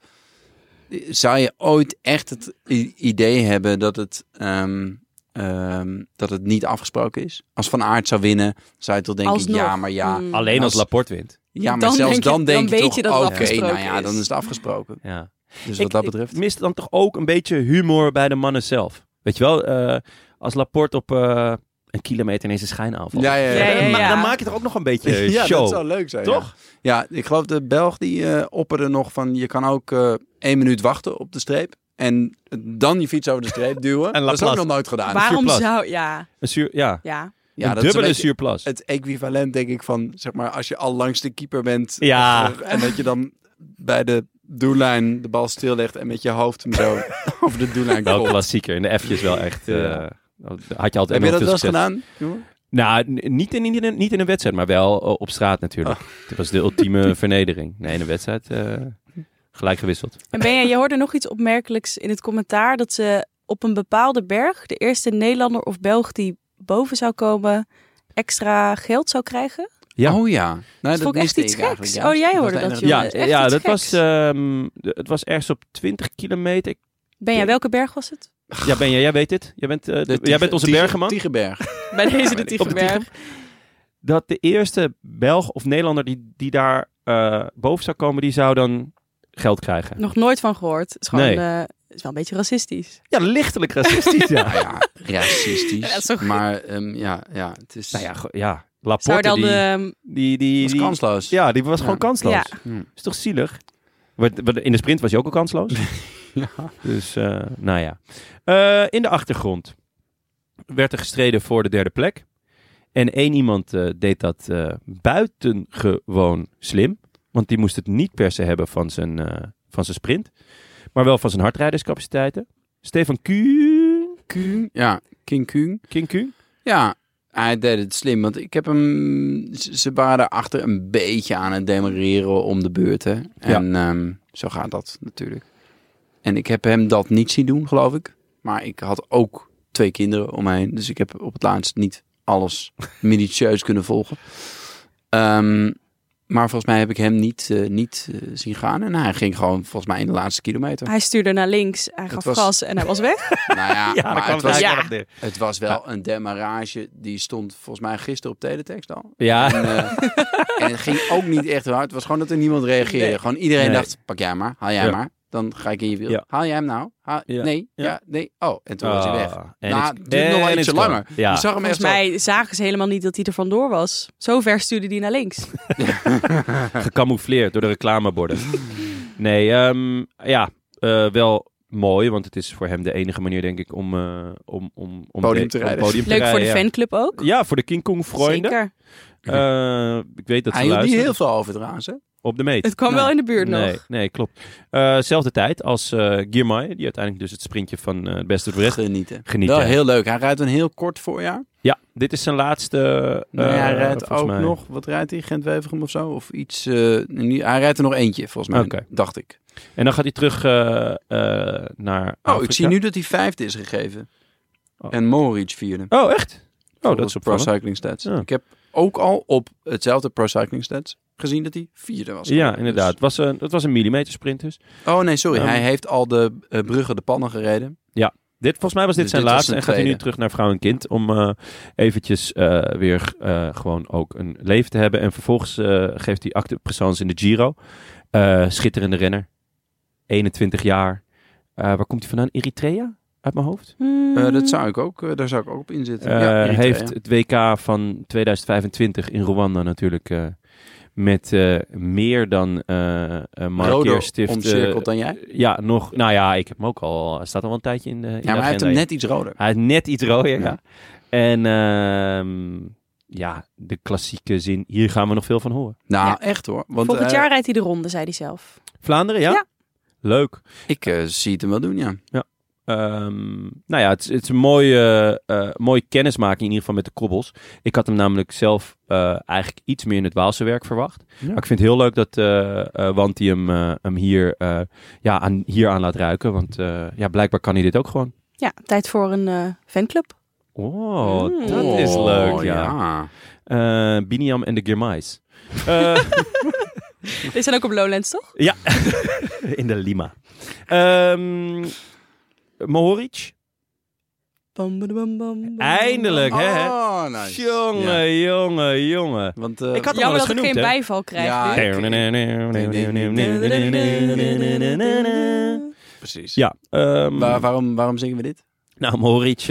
Speaker 3: eh, zou je ooit echt het i- idee hebben dat het, ehm, ehm, dat het niet afgesproken is. Als Van Aert zou winnen, zou je toch denken,
Speaker 5: Alsnog.
Speaker 3: ja, maar ja.
Speaker 5: Mm.
Speaker 4: Alleen als
Speaker 3: Als-
Speaker 4: Laporte wint.
Speaker 3: Ja, maar
Speaker 5: Dan
Speaker 3: zelfs
Speaker 5: denk je-
Speaker 3: dan
Speaker 5: dan
Speaker 3: denk je
Speaker 5: weet
Speaker 3: toch,
Speaker 5: je
Speaker 3: oké,
Speaker 5: dat het
Speaker 3: nou
Speaker 5: afgesproken
Speaker 3: ja,
Speaker 5: is.
Speaker 3: dan is het afgesproken.
Speaker 4: Ja.
Speaker 3: Dus wat
Speaker 4: ik,
Speaker 3: dat betreft.
Speaker 4: Ik miste dan toch ook een beetje humor bij de mannen zelf. Weet je wel, eh, als Laporte op eh, een kilometer ineens een schijnaanval.
Speaker 3: ja, ja,
Speaker 5: Ja, ja,
Speaker 4: Dan, ma-
Speaker 5: ja.
Speaker 4: dan maak je toch ook nog een beetje eh,
Speaker 3: Ja,
Speaker 4: show.
Speaker 3: dat zou leuk zijn.
Speaker 4: Toch?
Speaker 3: Ja, Ja, ik geloof de Belg die eh opperde nog van je kan ook eh één minuut wachten op de streep. En dan je fiets over de streep duwen.
Speaker 4: En
Speaker 3: dat is ook
Speaker 4: Laplace.
Speaker 3: nog nooit gedaan.
Speaker 5: Waarom
Speaker 4: Zuurplas.
Speaker 5: zou... Ja,
Speaker 4: Een zuur, ja.
Speaker 5: ja.
Speaker 3: ja,
Speaker 4: een
Speaker 3: dat is
Speaker 4: dubbele
Speaker 3: beetje
Speaker 4: zuurplas.
Speaker 3: het equivalent denk ik van zeg maar als je al langs de keeper bent.
Speaker 4: Ja.
Speaker 3: eh, En dat je dan bij de doellijn de bal stillegt en met je hoofd hem zo over de doellijn
Speaker 4: Wel
Speaker 3: komt.
Speaker 4: klassieker. In de F'jes wel echt. eh,
Speaker 3: Ja.
Speaker 4: had je
Speaker 3: Heb
Speaker 4: altijd
Speaker 3: je dat
Speaker 4: enorm veel
Speaker 3: wel eens
Speaker 4: succes.
Speaker 3: gedaan? jongen?
Speaker 4: Nou, n- niet in, niet, in, niet in een wedstrijd, maar wel eh, op straat
Speaker 3: Ah.
Speaker 4: natuurlijk. Het was de ultieme vernedering. Nee, in een wedstrijd eh, gelijk gewisseld.
Speaker 5: En Benja, je hoorde nog iets opmerkelijks in het commentaar. Dat ze op een bepaalde berg, de eerste Nederlander of Belg die boven zou komen, extra geld zou krijgen.
Speaker 4: Ja.
Speaker 3: Oh ja. Nou,
Speaker 5: vond ik echt
Speaker 3: miste
Speaker 5: iets
Speaker 3: ik eigenlijk
Speaker 5: geks.
Speaker 3: juist.
Speaker 5: Oh, jij
Speaker 3: was
Speaker 5: hoorde
Speaker 3: de
Speaker 5: dat,
Speaker 3: enige-
Speaker 5: joh.
Speaker 4: Ah. Ja,
Speaker 5: Jongen, echt
Speaker 4: ja
Speaker 5: iets
Speaker 4: dat
Speaker 5: geks.
Speaker 4: was, ehm, de- het was ergens op 20 kilometer. Ik-
Speaker 5: Ben jij, welke berg was het?
Speaker 4: Ja, Benja, jij weet dit. Jij bent, eh, de-
Speaker 3: De
Speaker 4: jij
Speaker 3: Tiege-
Speaker 4: bent onze
Speaker 3: Tiege-
Speaker 4: bergenman.
Speaker 3: Tiegenberg.
Speaker 5: Bij deze de
Speaker 3: weet ik. Op de
Speaker 5: Tigerberg.
Speaker 4: dat de eerste Belg of Nederlander die, die daar eh, boven zou komen, die zou dan geld krijgen.
Speaker 5: Nog nooit van gehoord. Het is gewoon,
Speaker 4: Nee.
Speaker 5: eh, het is wel een beetje racistisch.
Speaker 4: Ja, lichtelijk racistisch, ja.
Speaker 3: Nou ja, racistisch.
Speaker 5: Ja, dat is toch goed.
Speaker 3: maar ehm, ja, ja, het is...
Speaker 4: nou ja,
Speaker 3: het
Speaker 4: go- ja.
Speaker 5: Zou
Speaker 4: Laporte,
Speaker 5: dan,
Speaker 4: die,
Speaker 5: ehm,
Speaker 4: die, die,
Speaker 3: was
Speaker 4: die-
Speaker 3: kansloos.
Speaker 4: Ja, die was gewoon
Speaker 3: Ja.
Speaker 4: kansloos.
Speaker 5: Ja.
Speaker 3: Hm.
Speaker 4: Is toch zielig? Wat- wat- In de sprint was hij ook al kansloos.
Speaker 3: Ja.
Speaker 4: Dus, eh, nou ja. Eh, in de achtergrond werd er gestreden voor de derde plek. En één iemand eh, deed dat eh, buitengewoon slim. Want die moest het niet per se hebben van zijn, eh, van zijn sprint. Maar wel van zijn hardrijderscapaciteiten. Stefan Kuhn.
Speaker 3: Kuhn. Ja, King Kuhn.
Speaker 4: King Kuhn?
Speaker 3: Ja, hij deed het slim. Want ik heb hem... z- Ze waren erachter een beetje aan het demereren om de beurt. Hè? En ehm, zo gaat dat natuurlijk. En ik heb hem dat niet zien doen, geloof ik. Maar ik had ook twee kinderen om me heen. Dus ik heb op het laatst niet alles minutieus kunnen volgen. Ehm, maar volgens mij heb ik hem niet, eh, niet eh, zien gaan. En hij ging gewoon volgens mij in de laatste kilometer.
Speaker 5: ehm, hij stuurde naar links, hij gaf
Speaker 3: was-
Speaker 5: gas en hij was weg.
Speaker 3: Nou ja, maar het was,
Speaker 5: eigenlijk
Speaker 4: ja.
Speaker 3: het was wel een demarrage. Die stond volgens mij gisteren op teletext al.
Speaker 4: Ja,
Speaker 3: En, eh, en het ging ook niet echt hard. Het was gewoon dat er niemand reageerde.
Speaker 4: Nee.
Speaker 3: Gewoon iedereen
Speaker 4: Nee.
Speaker 3: dacht, pak jij hem maar, haal jij
Speaker 4: Ja.
Speaker 3: maar. Dan ga ik in je wiel.
Speaker 4: Ja.
Speaker 3: Haal jij hem nou? Haal-
Speaker 4: Ja.
Speaker 3: Nee,
Speaker 4: Ja.
Speaker 3: ja. nee. Oh, en toen was hij weg.
Speaker 4: Ah,
Speaker 3: Nou,
Speaker 4: it's-
Speaker 3: het duurde nog wel
Speaker 4: en
Speaker 3: ietsje
Speaker 4: it's gone.
Speaker 3: langer.
Speaker 4: Ja.
Speaker 3: Je zag hem echt
Speaker 5: Volgens
Speaker 3: zo.
Speaker 5: mij zagen ze helemaal niet dat hij er vandoor was. Zo ver stuurde hij naar links.
Speaker 4: gecamoufleerd door de reclameborden. nee, ehm, ja, eh, wel mooi, want het is voor hem de enige manier, denk ik, om, eh, om, om, om
Speaker 3: Podium
Speaker 4: de-
Speaker 3: te
Speaker 4: om
Speaker 3: rijden.
Speaker 4: podium te
Speaker 5: Leuk voor de
Speaker 4: rijden, ja.
Speaker 5: fanclub ook.
Speaker 4: Ja, voor de King Kong vrienden.
Speaker 5: Zeker.
Speaker 4: Eh, ik weet dat ze
Speaker 3: Hij hield niet
Speaker 4: luisteren.
Speaker 3: heel veel over trouwens. Hè?
Speaker 4: Op de meet.
Speaker 5: Het kwam
Speaker 3: Nee.
Speaker 5: wel in de buurt
Speaker 4: nee,
Speaker 5: nog.
Speaker 4: nee, klopt. Eh, zelfde tijd als eh Girmay, die uiteindelijk dus het sprintje van eh, het beste voor de rest.
Speaker 3: Genieten.
Speaker 4: Genieten.
Speaker 3: Wel heel leuk. Hij rijdt een heel kort voorjaar.
Speaker 4: Ja, dit is zijn laatste. eh,
Speaker 3: Nee, hij Nou rijdt
Speaker 4: volgens
Speaker 3: ook
Speaker 4: mij.
Speaker 3: nog, wat rijdt hij? Gent-Wevergem of zo? Of iets. eh, niet- hij rijdt er nog eentje volgens mij,
Speaker 4: Oké.
Speaker 3: dacht ik.
Speaker 4: En dan gaat hij terug eh, eh, naar.
Speaker 3: Oh,
Speaker 4: Afrika.
Speaker 3: ik zie nu dat hij vijfde is gegeven.
Speaker 4: Oh.
Speaker 3: En Moritz vierde.
Speaker 4: Oh, echt? Oh, dat is
Speaker 3: op Pro
Speaker 4: opvallend.
Speaker 3: Cycling Stats.
Speaker 4: Ja.
Speaker 3: Ik heb ook al op hetzelfde Pro Cycling Stats gezien dat hij vierde was.
Speaker 4: Ja, inderdaad. Het was een, het was een millimetersprint dus.
Speaker 3: Dus- Oh nee, sorry.
Speaker 4: Ehm.
Speaker 3: hij heeft al de eh, bruggen de pannen gereden.
Speaker 4: Dit, volgens mij was dit
Speaker 3: Dus
Speaker 4: zijn
Speaker 3: dit was
Speaker 4: laatste. En
Speaker 3: zijn
Speaker 4: gaat hij nu
Speaker 3: tweede.
Speaker 4: terug naar vrouw en kind. Om eh, eventjes eh, weer eh, gewoon ook een leven te hebben. En vervolgens eh, geeft hij acte présence in de Giro. Eh, schitterende renner. 21 jaar. Eh, waar komt hij vandaan? Eritrea? Uit mijn hoofd.
Speaker 3: Eh,
Speaker 5: Hmm.
Speaker 3: dat zou ik ook, eh, daar zou ik ook op inzitten.
Speaker 4: Mm. Eh,
Speaker 3: ja, Eritrea.
Speaker 4: heeft het WK van 2025 in Rwanda natuurlijk. eh, met eh, meer dan eh eh,
Speaker 3: Roder
Speaker 4: markeerstift.
Speaker 3: omcirkeld
Speaker 4: eh,
Speaker 3: dan jij.
Speaker 4: ja, nog. Nou ja, ik heb hem ook al. Hij staat al wel een tijdje in de. in de
Speaker 3: Ja, maar hij heeft
Speaker 4: agenda,
Speaker 3: hem
Speaker 4: ja.
Speaker 3: net iets roder.
Speaker 4: Hij is net iets rooier, ja.
Speaker 3: Ja.
Speaker 4: En ehm, ja, de klassieke zin. Hier gaan we nog veel van horen.
Speaker 3: Nou,
Speaker 5: Ja.
Speaker 3: echt hoor. Want,
Speaker 5: Volgend
Speaker 3: eh,
Speaker 5: jaar rijdt hij de ronde, zei hij zelf.
Speaker 4: Vlaanderen, ja?
Speaker 5: Ja.
Speaker 4: Leuk.
Speaker 3: Ik eh, zie het hem wel doen, ja.
Speaker 4: Ehm, nou ja, het, is- het is een mooie, eh, mooie kennismaking in ieder geval met de kobbels. Ik had hem namelijk zelf eh, eigenlijk iets meer in het Waalse werk verwacht. Maar ik vind het heel leuk dat eh eh Wanti hem, eh, hem hier, eh, ja, aan, hier aan laat ruiken. Want eh, ja, blijkbaar kan hij dit ook gewoon.
Speaker 5: Ja, tijd voor een eh, fanclub.
Speaker 4: Oh,
Speaker 5: Mm.
Speaker 4: dat is
Speaker 3: Oh,
Speaker 4: leuk, ja. Eh, Biniam en de Girmais. Eh,
Speaker 5: Die zijn ook op Lowlands, toch?
Speaker 4: Ja, in de Lima. Ehm Mohoric,
Speaker 5: Bam, bam, bam, bam, bam.
Speaker 4: eindelijk, hè?
Speaker 3: Oh, nice. Ja.
Speaker 4: Jongen, jongen, jongen.
Speaker 3: Want, eh,
Speaker 4: Ik had-
Speaker 5: Jammer
Speaker 4: wel eens
Speaker 5: dat ik
Speaker 4: genoemd,
Speaker 5: geen
Speaker 4: hè?
Speaker 5: bijval krijg
Speaker 3: Ja,
Speaker 5: nu.
Speaker 3: ik- precies.
Speaker 4: Ja, ehm,
Speaker 3: Waar- waarom, waarom zingen we dit?
Speaker 4: nou, Mohoric, eh,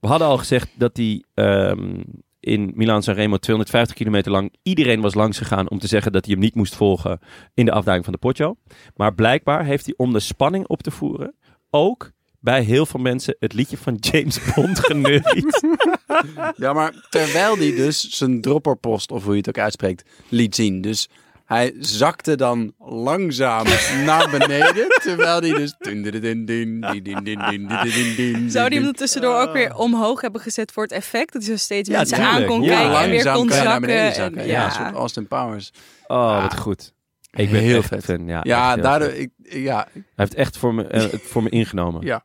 Speaker 4: we hadden al gezegd dat hij ehm, in Milaan Sanremo 250 kilometer lang iedereen was langs gegaan om te zeggen dat hij hem niet moest volgen in de afdaling van de Poggio. Maar blijkbaar heeft hij om de spanning op te voeren ook bij heel veel mensen het liedje van James Bond geneukt.
Speaker 3: Ja, maar terwijl hij dus zijn dropperpost, of hoe je het ook uitspreekt, liet zien. Dus hij zakte dan langzaam naar beneden, terwijl hij dus...
Speaker 5: Zou die hem er tussendoor ook weer omhoog hebben gezet voor het effect? Dat hij zo steeds
Speaker 4: Ja,
Speaker 5: mensen
Speaker 4: tuurlijk.
Speaker 5: aan kon
Speaker 4: Ja,
Speaker 5: kijken en weer
Speaker 3: langzaam
Speaker 5: kon
Speaker 3: kan je naar
Speaker 5: zakken.
Speaker 3: beneden
Speaker 5: en-
Speaker 3: zakken. ja.
Speaker 5: ja.
Speaker 3: een soort Austin Powers.
Speaker 4: Oh, wat goed. Ik ben
Speaker 3: Heel
Speaker 4: heel echt
Speaker 3: vet.
Speaker 4: fan. Ja, echt
Speaker 3: Ja,
Speaker 4: heel
Speaker 3: daardoor...
Speaker 4: vet.
Speaker 3: Ik, ja,
Speaker 4: Hij heeft echt voor me, eh, het voor me ingenomen.
Speaker 3: Ja.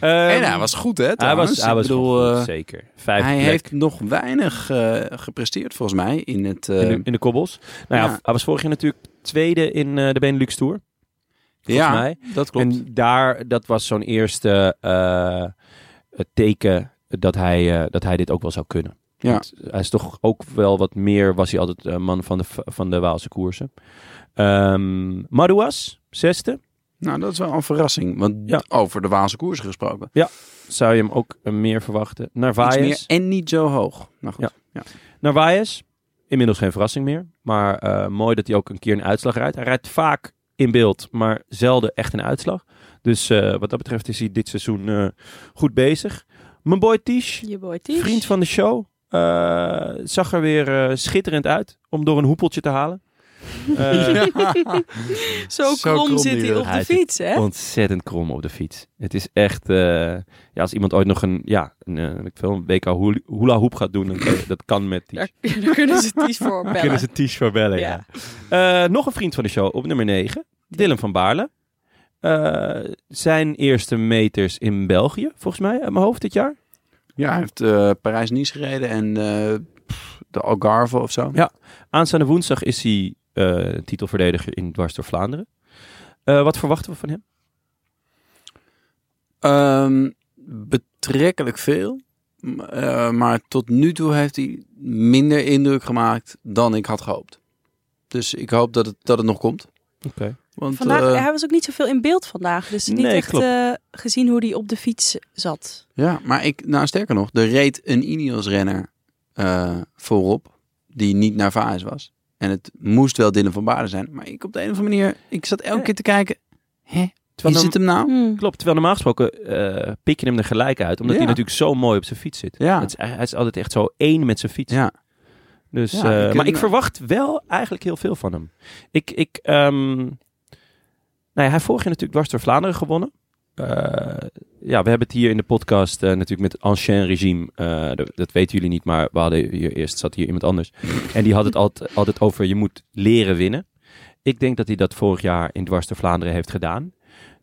Speaker 3: en hij was goed, hè?
Speaker 4: hij
Speaker 3: trouwens.
Speaker 4: was, hij
Speaker 3: Ik
Speaker 4: was
Speaker 3: bedoel,
Speaker 4: gewoon goed,
Speaker 3: eh,
Speaker 4: zeker. Vijf
Speaker 3: hij
Speaker 4: plek.
Speaker 3: heeft nog weinig eh, gepresteerd, volgens mij, in het... eh,
Speaker 4: in de, in de kobbels. Nou Ehm, ja,
Speaker 3: Ja.
Speaker 4: hij was vorig jaar natuurlijk tweede in eh, de Benelux Tour, volgens
Speaker 3: ja,
Speaker 4: mij.
Speaker 3: dat klopt.
Speaker 4: En daar, dat was zo'n eerste eh, het teken dat hij, eh, dat hij dit ook wel zou kunnen.
Speaker 3: Ja.
Speaker 4: Want hij is toch ook wel wat meer, was hij altijd eh, man van de, van de Waalse koersen. Ehm Madouas, zesde.
Speaker 3: Nou, dat is wel een verrassing. Want
Speaker 4: Ja.
Speaker 3: over de Waalse koers gesproken.
Speaker 4: Zou je hem ook eh, meer verwachten.
Speaker 3: Iets meer
Speaker 4: Narvaez.
Speaker 3: en niet zo hoog. Nou goed. Ja.
Speaker 4: Ja. Narvaez, inmiddels geen verrassing meer. Maar eh, mooi dat hij ook een keer een uitslag rijdt. Hij rijdt vaak in beeld, maar zelden echt een uitslag. Dus eh, wat dat betreft is hij dit seizoen eh, goed bezig. Mijn boy Tish,
Speaker 5: Je boy Ties.
Speaker 4: vriend van de show, eh, zag er weer eh, schitterend uit om door een hoepeltje te halen. Eh,
Speaker 5: Zo
Speaker 3: Zo
Speaker 5: krom
Speaker 3: krom
Speaker 5: zit
Speaker 3: die
Speaker 5: hij
Speaker 3: wil.
Speaker 5: op
Speaker 4: Hij
Speaker 5: de
Speaker 4: is
Speaker 5: fiets, hè?
Speaker 4: ontzettend krom op de fiets. Het is echt, eh, ja, als iemand ooit nog een, ja, een, eh, weet ik veel, een WK hula- hula hoop gaat doen, dan kan- dat kan met Tish.
Speaker 5: Daar, daar kunnen ze Ties voor
Speaker 4: Dan
Speaker 5: bellen.
Speaker 4: kunnen ze Ties voor bellen, ja. Eh, nog een vriend van de show op nummer 9. Dylan van Baarle. Eh, zijn eerste meters in België, volgens mij, uit mijn hoofd dit jaar.
Speaker 3: hij heeft eh, Parijs-Nice gereden en eh, pff, de Algarve of zo.
Speaker 4: Ja. Aanstaande woensdag is hij eh, titelverdediger in Dwars door Vlaanderen. Eh, wat verwachten we van hem?
Speaker 3: Ehm, betrekkelijk veel. M- eh, maar tot nu toe heeft hij minder indruk gemaakt dan ik had gehoopt. Dus ik hoop dat het, dat het nog komt.
Speaker 4: Oké.
Speaker 3: Want,
Speaker 5: Vandaag,
Speaker 3: eh,
Speaker 5: hij was ook niet zoveel in beeld vandaag. Dus niet
Speaker 4: Nee,
Speaker 5: echt
Speaker 4: klopt.
Speaker 5: eh, gezien hoe hij op de fiets zat.
Speaker 3: Ja, maar ik, nou sterker nog, er reed een Ineos-renner eh, voorop die niet naar Vaas was. En het moest wel Dylan van Baarden zijn. Maar ik op de een of andere manier, ik zat elke
Speaker 4: Ja.
Speaker 3: keer te kijken, hè, wie
Speaker 4: norm-
Speaker 3: zit hem nou?
Speaker 5: Hmm.
Speaker 4: Klopt, terwijl normaal gesproken eh, pik je hem er gelijk uit. Omdat
Speaker 3: Ja.
Speaker 4: hij natuurlijk zo mooi op zijn fiets zit.
Speaker 3: Ja.
Speaker 4: Het is, hij is altijd echt zo één met zijn fiets.
Speaker 3: Ja,
Speaker 4: Dus,
Speaker 3: Ja,
Speaker 4: eh,
Speaker 3: ik
Speaker 4: maar
Speaker 3: ken-
Speaker 4: ik verwacht wel eigenlijk heel veel van hem. Ik, ik, ehm, nou ja, hij heeft vorig jaar natuurlijk dwars door Vlaanderen gewonnen. Eh, ja, we hebben het hier in de podcast eh, natuurlijk met Ancien Regime. eh, dat, dat weten jullie niet, maar we hadden hier eerst zat hier iemand anders. en die had het altijd, altijd over je moet leren winnen. Ik denk dat hij dat vorig jaar in dwars door Vlaanderen heeft gedaan.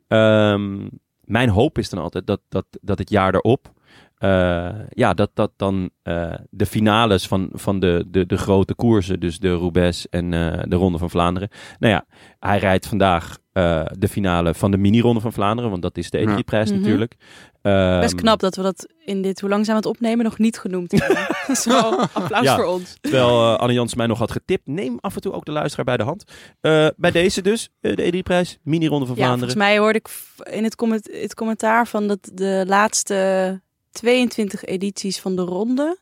Speaker 4: Ehm, mijn hoop is dan altijd dat, dat, dat het jaar erop eh, ja, dat, dat dan eh, de finales van, van de, de, de grote koersen, dus de Roubaix en eh, de Ronde van Vlaanderen. Nou ja, hij rijdt vandaag eh, de finale van de mini-ronde van Vlaanderen, want dat is de
Speaker 3: Ja.
Speaker 4: E3-prijs
Speaker 5: Mhm.
Speaker 4: natuurlijk. Ehm,
Speaker 5: Best knap dat we dat in dit, hoe langzaam het opnemen, nog niet genoemd hebben. Zo, applaus
Speaker 4: Ja.
Speaker 5: voor ons.
Speaker 4: Terwijl eh, Anne Jans mij nog had getipt, neem af en toe ook de luisteraar bij de hand. Eh, bij deze dus, eh, de E3-prijs, mini-ronde van
Speaker 5: Ja, volgens
Speaker 4: Vlaanderen.
Speaker 5: mij hoorde ik f- in het, comment, het commentaar van dat de laatste 22 edities van de ronde...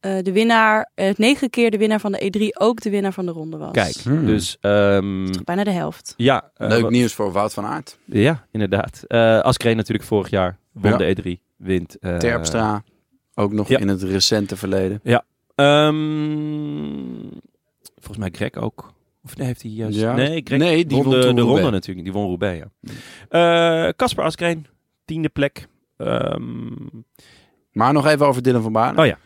Speaker 5: eh, de winnaar, eh, negen keer de winnaar van de E3 ook de winnaar van de ronde was.
Speaker 4: Kijk,
Speaker 3: Hmm.
Speaker 4: dus ehm,
Speaker 5: Bijna de helft.
Speaker 4: ja, eh,
Speaker 3: leuk
Speaker 4: wat-
Speaker 3: nieuws voor Wout van Aert.
Speaker 4: ja, inderdaad. Eh Askreen natuurlijk vorig jaar won
Speaker 3: Ja.
Speaker 4: de E3, wint. eh,
Speaker 3: Terpstra, ook nog
Speaker 4: ja.
Speaker 3: in het recente verleden.
Speaker 4: Ehm, volgens mij Greg ook. Of nee, heeft hij juist...
Speaker 3: Ja.
Speaker 4: Nee, Greg
Speaker 3: Nee, die
Speaker 4: won Hmm.
Speaker 3: won
Speaker 4: de,
Speaker 3: toen
Speaker 4: de
Speaker 3: Roubaix.
Speaker 4: ronde natuurlijk. Die won Roubaix, ja. Eh, Casper Askreen, tiende plek. Ehm,
Speaker 3: Maar nog even over Dylan van Baarden.
Speaker 4: Oh ja.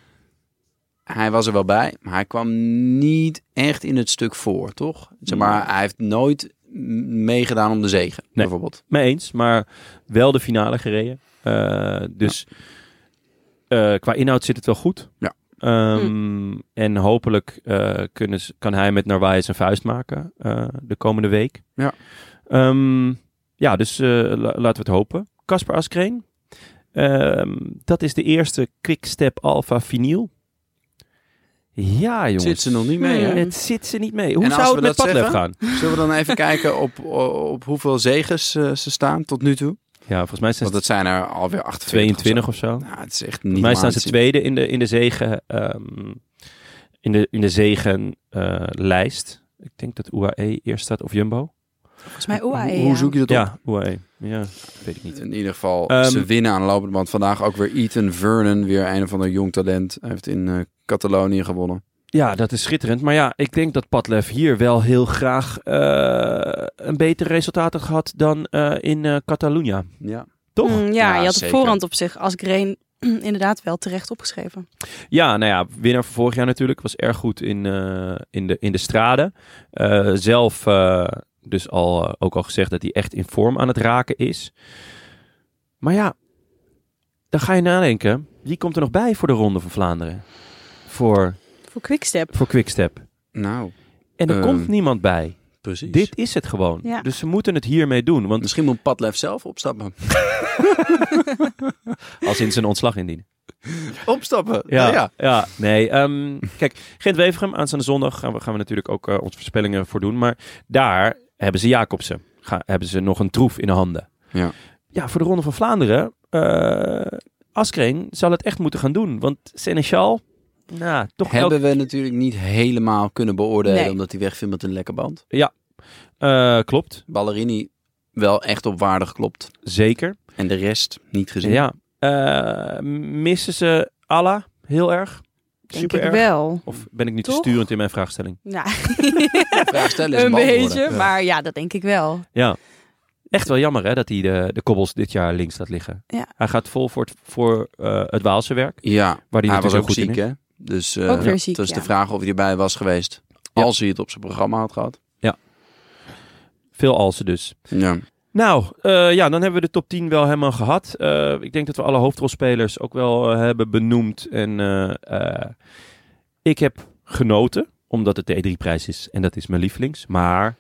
Speaker 3: Hij was er wel bij, maar hij kwam niet echt in het stuk voor, toch? Zeg maar, hij heeft nooit m- meegedaan om de zegen, bijvoorbeeld.
Speaker 4: mee eens, maar wel de finale gereden. Eh, dus eh, qua inhoud zit het wel goed.
Speaker 3: Ja.
Speaker 4: Ehm, En hopelijk eh, kunnen ze, kan hij met Narwaez een vuist maken eh, de komende week.
Speaker 3: Ja.
Speaker 4: Ehm, ja, dus eh, la- laten we het hopen. Casper Askreen. Ehm, dat is de eerste Quickstep Alpha Vinyl. Ja, jongens.
Speaker 3: Zit ze nog niet mee, hè?
Speaker 4: Het zit ze niet mee. Hoe
Speaker 3: En als
Speaker 4: zou het
Speaker 3: we
Speaker 4: met
Speaker 3: dat
Speaker 4: Padlef
Speaker 3: zeggen?
Speaker 4: gaan?
Speaker 3: Zullen we dan even kijken op, op hoeveel zegens eh, ze staan tot nu toe?
Speaker 4: Ja, volgens mij zijn
Speaker 3: Want
Speaker 4: ze
Speaker 3: dat zijn er alweer 48
Speaker 4: 22 of zo.
Speaker 3: of zo. Nou, het is echt niet
Speaker 4: Volgens mij
Speaker 3: normaal
Speaker 4: staan
Speaker 3: te
Speaker 4: ze
Speaker 3: zien.
Speaker 4: tweede in de, in de zegen. ehm, in de, in de zegenlijst. ik denk dat UAE eerst staat of Jumbo.
Speaker 5: Volgens mij E, UAE.
Speaker 3: Hoe, hoe zoek je dat op?
Speaker 4: Ja, UAE. Ja, weet ik niet.
Speaker 3: In ieder geval,
Speaker 4: Ehm,
Speaker 3: ze winnen aan de lopende band. Vandaag ook weer Ethan Vernon, weer een van de jong talent. Hij heeft in eh, Catalonië gewonnen.
Speaker 4: Ja, dat is schitterend. Maar ja, ik denk dat Padlef hier wel heel graag eh, een beter resultaat had gehad dan eh, in eh Catalonia.
Speaker 3: Ja.
Speaker 4: Toch?
Speaker 5: Mm, ja,
Speaker 3: Ja,
Speaker 5: je had op
Speaker 3: zeker.
Speaker 5: voorhand op zich als Green inderdaad wel terecht opgeschreven.
Speaker 4: Ja, nou ja, winnaar van vorig jaar natuurlijk. Was erg goed in, eh, in, de, in de straden. Eh, zelf eh, dus al, eh, ook al gezegd dat hij echt in vorm aan het raken is. Maar ja, dan ga je nadenken. Wie komt er nog bij voor de Ronde van Vlaanderen? Voor,
Speaker 5: Voor Quickstep.
Speaker 4: voor Quickstep.
Speaker 3: Nou,
Speaker 4: En er
Speaker 3: Eh,
Speaker 4: komt niemand bij.
Speaker 3: precies. Dus-
Speaker 4: Dit is het gewoon.
Speaker 5: Ja.
Speaker 4: Dus ze moeten het hiermee doen. Want
Speaker 3: Misschien moet Padlef zelf opstappen.
Speaker 4: als in zijn ontslag indienen.
Speaker 3: opstappen?
Speaker 4: Ja,
Speaker 3: Nou
Speaker 4: ja. nee. ehm, kijk, Gent Wevergem aanstaande zondag gaan we, gaan we natuurlijk ook eh, onze voorspellingen voor doen. Maar daar hebben ze Jacobsen. Ga, hebben ze nog een troef in de handen.
Speaker 3: Ja.
Speaker 4: ja voor de Ronde van Vlaanderen. eh Askreen zal het echt moeten gaan doen. Want Seneschal, nou, toch wel.
Speaker 3: Hebben we natuurlijk niet helemaal kunnen beoordelen,
Speaker 5: Nee.
Speaker 3: omdat hij wegvindt met een lekker band.
Speaker 4: eh, klopt,
Speaker 3: Ballerini wel echt op waarde geklopt.
Speaker 4: zeker.
Speaker 3: En de rest niet gezien.
Speaker 4: Ja. Eh, missen ze Alla heel erg?
Speaker 5: Denk
Speaker 4: Super
Speaker 5: ik
Speaker 4: erg.
Speaker 5: wel.
Speaker 4: Of ben ik nu te
Speaker 5: Toch?
Speaker 4: sturend in mijn vraagstelling?
Speaker 5: Nou,
Speaker 3: Vraag stellen is
Speaker 5: een
Speaker 3: beantwoorden.
Speaker 5: beetje, maar ja, dat denk ik wel.
Speaker 4: Ja. Echt wel jammer hè, dat hij de, de kobbels dit jaar links laat liggen.
Speaker 5: Ja.
Speaker 4: Hij gaat vol voor het, voor, eh, het Waalse werk.
Speaker 3: Ja,
Speaker 4: Waar hij,
Speaker 3: hij was
Speaker 4: natuurlijk
Speaker 3: ook
Speaker 4: goed in
Speaker 3: ziek,
Speaker 4: is.
Speaker 3: hè? Dus eh
Speaker 5: Ook weer
Speaker 3: het
Speaker 5: ziek,
Speaker 3: was
Speaker 5: ja.
Speaker 3: de vraag of hij erbij was geweest.
Speaker 4: Ja.
Speaker 3: Als hij het op zijn programma had gehad.
Speaker 4: Veel Alsen dus.
Speaker 3: Ja.
Speaker 4: Nou, eh, ja, dan hebben we de top 10 wel helemaal gehad. Eh, ik denk dat we alle hoofdrolspelers ook wel eh, hebben benoemd. En eh, eh, ik heb genoten, omdat het de E3-prijs is. En dat is mijn lievelings. Maar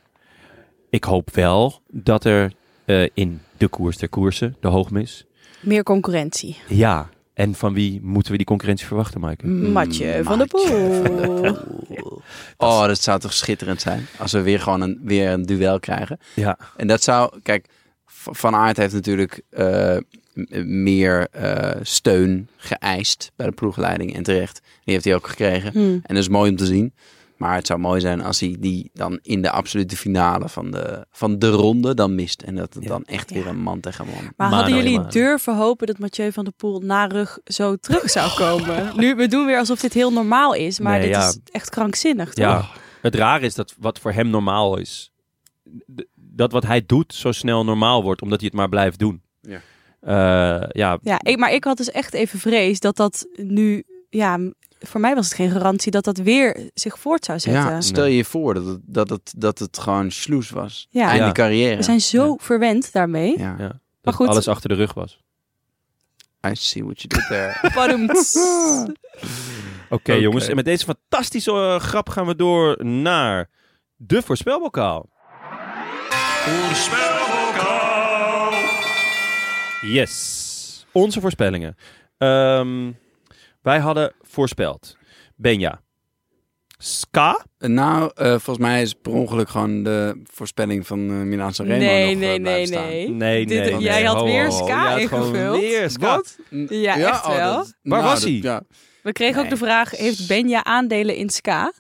Speaker 4: ik hoop wel dat er eh, in de koers ter koersen, de hoogmis...
Speaker 5: Meer concurrentie.
Speaker 4: Ja, en van wie moeten we die concurrentie verwachten, Maaike?
Speaker 5: Matje van der Poel.
Speaker 3: Mm, Oh, dat zou toch schitterend zijn. Als we weer gewoon een, weer een duel krijgen.
Speaker 4: Ja.
Speaker 3: En dat zou, kijk, V- Van Aert heeft natuurlijk eh, m- meer eh, steun geëist bij de ploegleiding en terecht. Die heeft hij ook gekregen.
Speaker 5: Hmm.
Speaker 3: En dat is mooi om te zien. Maar het zou mooi zijn als hij die dan in de absolute finale van de, van de ronde dan mist. En dat het
Speaker 4: Ja.
Speaker 3: dan echt weer een man tegen man.
Speaker 5: Maar
Speaker 4: Mano
Speaker 5: hadden jullie
Speaker 4: in mano.
Speaker 5: durven hopen dat Mathieu van der Poel na rug zo terug zou komen? Nu, we doen weer alsof dit heel normaal is, maar
Speaker 4: Nee,
Speaker 5: dit
Speaker 4: ja.
Speaker 5: is echt krankzinnig, toch?
Speaker 4: Ja, het raar is dat wat voor hem normaal is, d- dat wat hij doet zo snel normaal wordt, omdat hij het maar blijft doen.
Speaker 3: Ja.
Speaker 4: Eh, ja,
Speaker 5: Ja, ik, maar ik had dus echt even vrees dat dat nu... Ja, m- voor mij was het geen garantie dat dat weer zich voort zou zetten.
Speaker 3: Ja, stel je voor dat het, dat het, dat het gewoon sloes was.
Speaker 5: Ja.
Speaker 3: Einde
Speaker 4: Ja.
Speaker 3: carrière.
Speaker 5: We zijn zo verwend daarmee.
Speaker 3: Ja.
Speaker 4: Ja.
Speaker 5: Maar
Speaker 4: dat
Speaker 5: goed.
Speaker 4: alles achter de rug was.
Speaker 3: I see what you did there.
Speaker 5: Padoemts.
Speaker 4: Oké jongens, en met deze fantastische eh, grap gaan we door naar de voorspelbokaal. Yes, onze voorspellingen. Ehm, wij hadden voorspeld, Benja, Ska...
Speaker 3: nou, eh, volgens mij is per ongeluk gewoon de voorspelling van eh Milaan Sanremo nog,
Speaker 5: nee,
Speaker 3: eh,
Speaker 5: nee, nee,
Speaker 3: blijven staan.
Speaker 5: nee.
Speaker 4: Nee,
Speaker 5: Dit-
Speaker 4: nee.
Speaker 5: jij
Speaker 4: nee.
Speaker 5: had
Speaker 4: Ho, ho,
Speaker 5: weer
Speaker 4: ho.
Speaker 5: ska
Speaker 4: Jij had gewoon
Speaker 5: ingevuld.
Speaker 4: Weer ska.
Speaker 5: Ja, echt
Speaker 3: oh,
Speaker 5: wel.
Speaker 3: dat-
Speaker 4: Waar was
Speaker 3: dat-
Speaker 4: hij?
Speaker 3: Ja.
Speaker 5: We kregen ook
Speaker 3: Nee.
Speaker 5: de vraag, heeft Benja aandelen in Ska?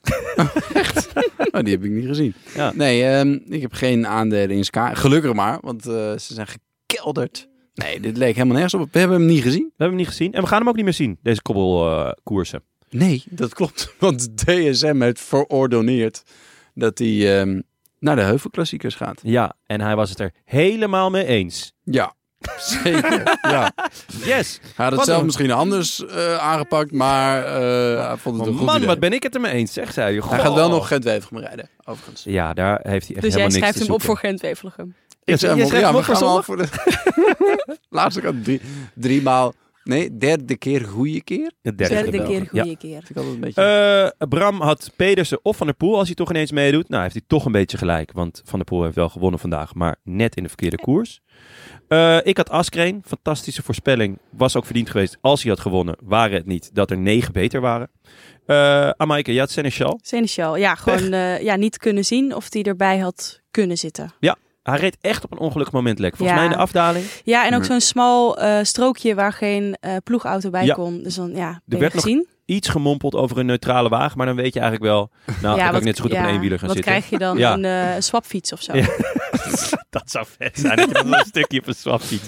Speaker 3: Oh, die heb ik niet gezien.
Speaker 4: Ja.
Speaker 3: Nee, ehm, ik heb geen aandelen in Ska. Gelukkig maar, want eh, ze zijn gekelderd. Nee, dit leek helemaal nergens op. We hebben hem niet gezien.
Speaker 4: We hebben hem niet gezien. En we gaan hem ook niet meer zien, deze kobbelkoersen.
Speaker 3: Nee, dat klopt. Want DSM heeft verordoneerd dat hij ehm, naar de heuvelklassiekers gaat.
Speaker 4: ja, en hij was het er helemaal mee eens.
Speaker 3: Ja, zeker. ja.
Speaker 4: Yes!
Speaker 3: Hij had het
Speaker 4: Wat
Speaker 3: zelf
Speaker 4: een-
Speaker 3: misschien anders eh, aangepakt, maar eh, hij vond het een goed
Speaker 4: Man,
Speaker 3: idee.
Speaker 4: wat ben ik het ermee eens, zegt hij.
Speaker 3: Hij gaat wel nog gent wevergem rijden, overigens.
Speaker 4: Ja, daar heeft hij echt
Speaker 5: Dus jij
Speaker 4: helemaal niks
Speaker 5: schrijft
Speaker 4: te
Speaker 5: hem op voor
Speaker 4: zoeken.
Speaker 5: Gent-Wevelgem.
Speaker 4: Ja,
Speaker 3: zei
Speaker 4: je
Speaker 3: hem al,
Speaker 4: schrijft hem op
Speaker 3: we
Speaker 4: voor
Speaker 3: gaan al voor de... Laatste kant drie, drie maal... Nee, derde keer goede keer.
Speaker 4: De
Speaker 5: Derde
Speaker 3: Belgen.
Speaker 5: keer, goede keer.
Speaker 3: Vind ik altijd een beetje...
Speaker 4: Eh, Bram had Pedersen of Van der Poel als hij toch ineens meedoet. Nou, heeft hij toch een beetje gelijk. Want Van der Poel heeft wel gewonnen vandaag, maar net in de verkeerde koers. Eh, ik had Askreen. Fantastische voorspelling. Was ook verdiend geweest als hij had gewonnen. Waren het niet dat er negen beter waren. Eh Amaike, jij had Seneschal.
Speaker 5: Seneschal, ja, gewoon eh, ja, niet kunnen zien of die erbij had kunnen zitten.
Speaker 4: Hij reed echt op een ongelukkig moment lek. Volgens
Speaker 5: Ja.
Speaker 4: mij in de afdaling.
Speaker 5: Ja, en ook
Speaker 3: Ja.
Speaker 5: zo'n smal eh, strookje waar geen eh, ploegauto bij
Speaker 4: Ja.
Speaker 5: kon. Dus dan, ja, ben je
Speaker 4: werd nog
Speaker 5: gezien.
Speaker 4: Iets gemompeld over een neutrale wagen. Maar dan weet je eigenlijk wel. Nou,
Speaker 5: ja,
Speaker 4: dan kan ik net zo goed op
Speaker 5: ja,
Speaker 4: een eenwieler gaan
Speaker 5: wat
Speaker 4: zitten.
Speaker 5: krijg je dan?
Speaker 4: Ja.
Speaker 5: Een eh swapfiets of zo?
Speaker 4: Ja. Dat zou vet zijn. dat je dan een stukje op een swapfiets.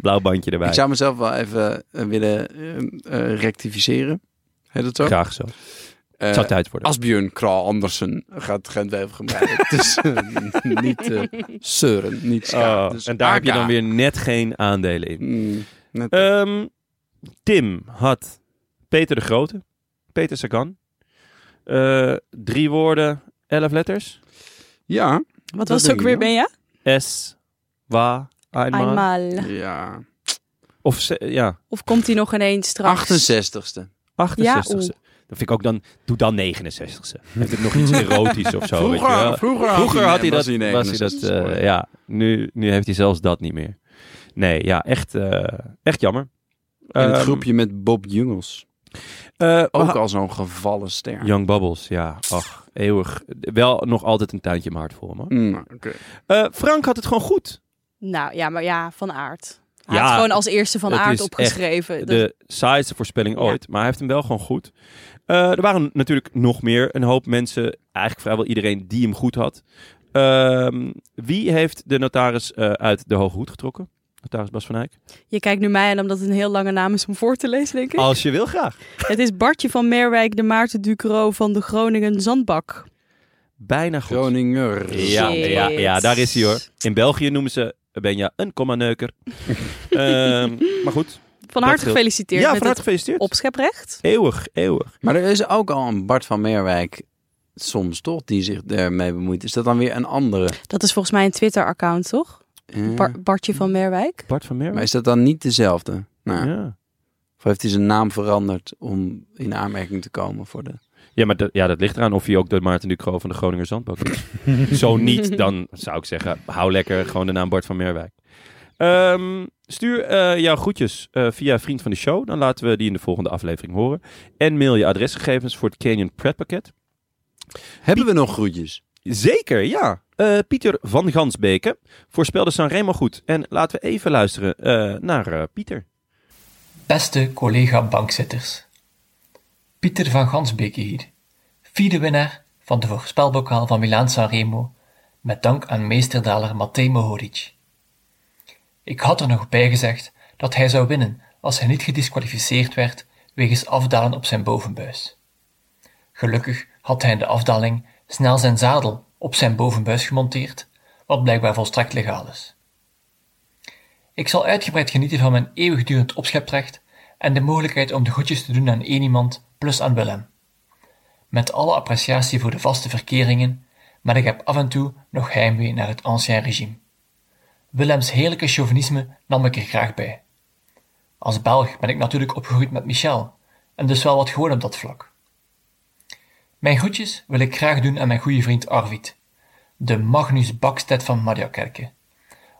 Speaker 4: Blauw bandje erbij.
Speaker 3: Ik zou mezelf wel even eh, willen eh, eh, rectificeren. Heet dat zo?
Speaker 4: Graag zo.
Speaker 3: Eh,
Speaker 4: Zou tijd worden.
Speaker 3: Asbjörn Kraal Andersen gaat gent wevergem rijden. dus eh, niet eh zeuren, niet Dus schaam.
Speaker 4: Oh, en daar heb je dan weer net geen aandelen in.
Speaker 3: Hmm,
Speaker 4: Ehm, Tim had Peter de Grote. Peter Sagan. Eh, drie woorden, elf letters.
Speaker 3: ja.
Speaker 5: Wat
Speaker 3: Dat
Speaker 5: was het
Speaker 3: denk
Speaker 5: ook
Speaker 3: ik
Speaker 5: weer,
Speaker 3: wel.
Speaker 5: Benja?
Speaker 4: S, wa, einmal.
Speaker 5: Eenmaal.
Speaker 3: Ja.
Speaker 4: Of ze- ja,
Speaker 5: Of komt hij nog ineens straks?
Speaker 3: 68ste.
Speaker 4: 68
Speaker 5: Ja,
Speaker 4: e Dat vind ik ook dan, doe dan 69 e Heeft het nog iets erotisch of zo? weet je wel?
Speaker 3: vroeger,
Speaker 4: Vroeger had hij dat.
Speaker 3: was
Speaker 4: was hij dat eh, ja, nu, nu heeft hij zelfs dat niet meer. Nee, ja, echt, eh, echt jammer.
Speaker 3: In het
Speaker 4: Ehm,
Speaker 3: groepje met Bob Jungels. Ah.
Speaker 4: eh, we
Speaker 3: Ook
Speaker 4: ha-
Speaker 3: al zo'n gevallen ster.
Speaker 4: Young Bubbles, ja. Ach, eeuwig. Wel nog altijd een tuintje in mijn hart voor, man.
Speaker 3: Mm, oké.
Speaker 4: Eh, Frank had het gewoon goed.
Speaker 5: Nou ja, maar ja, van aard. Hij
Speaker 4: Ja,
Speaker 5: had gewoon als eerste van
Speaker 4: dat
Speaker 5: aard
Speaker 4: is
Speaker 5: opgeschreven. Eh, Dus Dat-
Speaker 4: De saaiste voorspelling
Speaker 5: Ja.
Speaker 4: ooit. Maar hij heeft hem wel gewoon goed. Eh, er waren natuurlijk nog meer. Een hoop mensen. Eigenlijk vrijwel iedereen die hem goed had. Ehm, wie heeft de notaris eh, uit de hoge hoed getrokken? Notaris Bas van Eyck.
Speaker 5: Je kijkt nu mij aan omdat het een heel lange naam is om voor te lezen, denk ik.
Speaker 4: Als je wil, graag.
Speaker 5: Het is Bartje van Meerwijk, de Maarten Ducro van de Groningen Zandbak.
Speaker 4: Bijna goed.
Speaker 3: Groninger.
Speaker 4: Ja,
Speaker 5: Shit.
Speaker 4: ja, ja, daar is hij hoor. In België noemen ze Benja een kommaneuker. Ehm maar goed.
Speaker 5: Van harte
Speaker 4: scheelt.
Speaker 5: gefeliciteerd
Speaker 4: ja,
Speaker 5: met
Speaker 4: van harte
Speaker 5: het
Speaker 4: gefeliciteerd.
Speaker 5: opscheprecht.
Speaker 4: Eeuwig, eeuwig.
Speaker 3: Maar er is ook al een Bart van Meerwijk, soms toch, die zich daarmee bemoeit. Is dat dan weer een andere?
Speaker 5: Dat is volgens mij een Twitter-account, toch?
Speaker 3: Ja.
Speaker 5: Bar- Bartje van Meerwijk.
Speaker 4: Bart van
Speaker 3: Maar
Speaker 4: Merwijk.
Speaker 3: is dat dan niet dezelfde? Nou,
Speaker 4: Ja.
Speaker 3: Of heeft hij zijn naam veranderd om in aanmerking te komen voor de...
Speaker 4: Ja, maar dat, ja, dat ligt eraan of hij ook de Maarten Ducro van de Groninger Zandbak is. Zo niet, dan zou ik zeggen, hou lekker gewoon de naam Bart van Meerwijk. Ehm, stuur eh, jouw groetjes eh, via vriend van de show. Dan laten we die in de volgende aflevering horen. En mail je adresgegevens voor het Canyon Pret pakket.
Speaker 3: Hebben we nog groetjes?
Speaker 4: Zeker, ja. Eh, Pieter van Gansbeke voorspelde Sanremo goed. En laten we even luisteren eh, naar eh, Pieter.
Speaker 8: Beste collega bankzitters. Pieter van Gansbeke hier, vierde winnaar van de voorspelbokaal van Milaan Sanremo, met dank aan meesterdaler Matej Mohoric. Ik had er nog bij gezegd dat hij zou winnen als hij niet gedisqualificeerd werd wegens afdalen op zijn bovenbuis. Gelukkig had hij in de afdaling snel zijn zadel op zijn bovenbuis gemonteerd, wat blijkbaar volstrekt legaal is. Ik zal uitgebreid genieten van mijn eeuwigdurend opscheptrecht en de mogelijkheid om de goedjes te doen aan één iemand plus aan Willem. Met alle appreciatie voor de vaste verkeringen, maar ik heb af en toe nog heimwee naar het ancien regime. Willems heerlijke chauvinisme nam ik er graag bij. Als Belg ben ik natuurlijk opgegroeid met Michel, en dus wel wat gewoon op dat vlak. Mijn goedjes wil ik graag doen aan mijn goede vriend Arvid, de Magnus Bakstedt van Mariakerke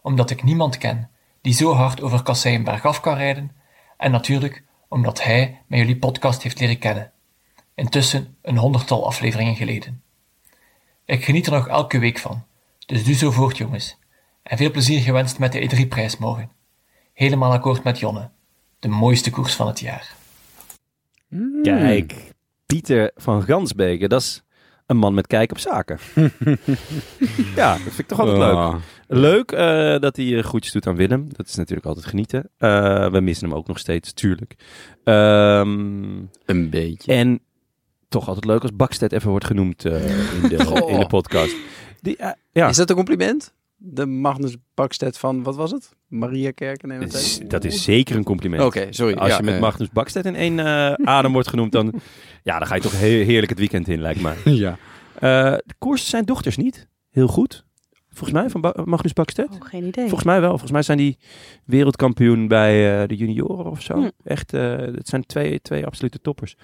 Speaker 8: omdat ik niemand ken die zo hard over Kasseienberg af kan rijden en natuurlijk omdat hij mij jullie podcast heeft leren kennen. Intussen een honderdtal afleveringen geleden. Ik geniet er nog elke week van, dus doe zo voort jongens. En veel plezier gewenst met de E3-prijs morgen. Helemaal akkoord met Jonne. De mooiste koers van het jaar.
Speaker 3: Hmm.
Speaker 4: Kijk, Pieter van Gansbeke, dat is een man met kijk op zaken. ja, dat vind ik toch altijd leuk.
Speaker 3: Ah.
Speaker 4: Leuk eh, dat hij eh, groetjes doet aan Willem. Dat is natuurlijk altijd genieten. Eh, we missen hem ook nog steeds, tuurlijk. Ehm,
Speaker 3: Een beetje.
Speaker 4: en toch altijd leuk als Bakstedt even wordt genoemd eh, in, de,
Speaker 3: Goh.
Speaker 4: in de podcast. Die, eh, ja,
Speaker 3: Is dat een compliment? De Magnus Bakstedt van, wat was het? Maria Kerken en
Speaker 4: dat is, dat is zeker een compliment.
Speaker 3: Oké, sorry.
Speaker 4: Als
Speaker 3: Ja,
Speaker 4: je met
Speaker 3: eh,
Speaker 4: Magnus Bakstedt in één eh, adem wordt genoemd, dan, ja, dan ga je toch he- heerlijk het weekend in, lijkt mij.
Speaker 3: Ja.
Speaker 4: Eh, de koers zijn dochters niet. Heel goed. Volgens mij van Ba- Magnus Bakstedt.
Speaker 5: Oh, geen idee.
Speaker 4: Volgens mij wel. Volgens mij zijn die wereldkampioen bij eh, de junioren of zo.
Speaker 5: Hm.
Speaker 4: Echt, eh, het zijn twee, twee absolute toppers.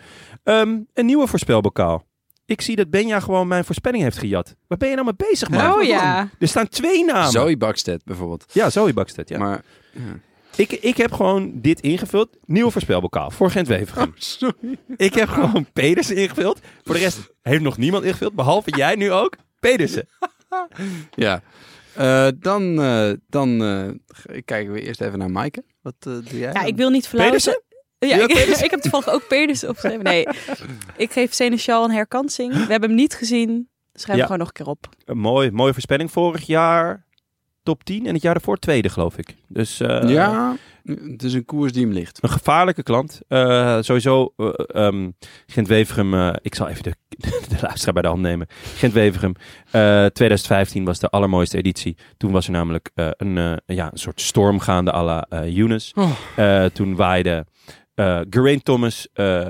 Speaker 4: Ehm, een nieuwe voorspelbokaal. Ik zie dat Benja gewoon mijn voorspelling heeft gejat. Waar ben je nou mee bezig, man?
Speaker 5: Oh ja.
Speaker 4: Er staan twee namen.
Speaker 3: Zoe Bakstedt bijvoorbeeld.
Speaker 4: Ja, Zoe Bakstedt, ja.
Speaker 3: Maar,
Speaker 4: Ik, ik heb gewoon dit ingevuld. Nieuw voorspelbokaal voor Gent Wevergem. Ik heb gewoon Pedersen ingevuld. Voor de rest heeft nog niemand ingevuld. Behalve jij nu ook. Pedersen.
Speaker 3: ja. Eh, dan eh, dan eh, g- kijken we eerst even naar Maaike. Wat eh, doe jij?
Speaker 5: Ja,
Speaker 3: dan?
Speaker 5: ik wil niet verlauzen.
Speaker 4: Pedersen?
Speaker 5: Ja,
Speaker 4: Ja,
Speaker 5: ik,
Speaker 4: Pedersen.
Speaker 5: ik heb toevallig ook Pedersen opgeschreven. Nee, ik geef Seneschal een herkansing. We hebben hem niet gezien. Schrijf hem
Speaker 4: Ja.
Speaker 5: gewoon nog een keer op.
Speaker 4: Een mooi, mooie voorspelling. Vorig jaar top 10 en het jaar daarvoor tweede, geloof ik. Dus eh,
Speaker 3: ja, het is een koers die hem ligt.
Speaker 4: een gevaarlijke klant. Eh, sowieso, eh, ehm, Gent Wevergem. eh, ik zal even de, de luisteraar bij de hand nemen. Gent Wevergem. eh, 2015 was de allermooiste editie. Toen was er namelijk eh, een, eh, ja, een soort storm gaande à la eh, Younes.
Speaker 3: Oh.
Speaker 4: Eh, toen waaide eh Geraint Thomas eh,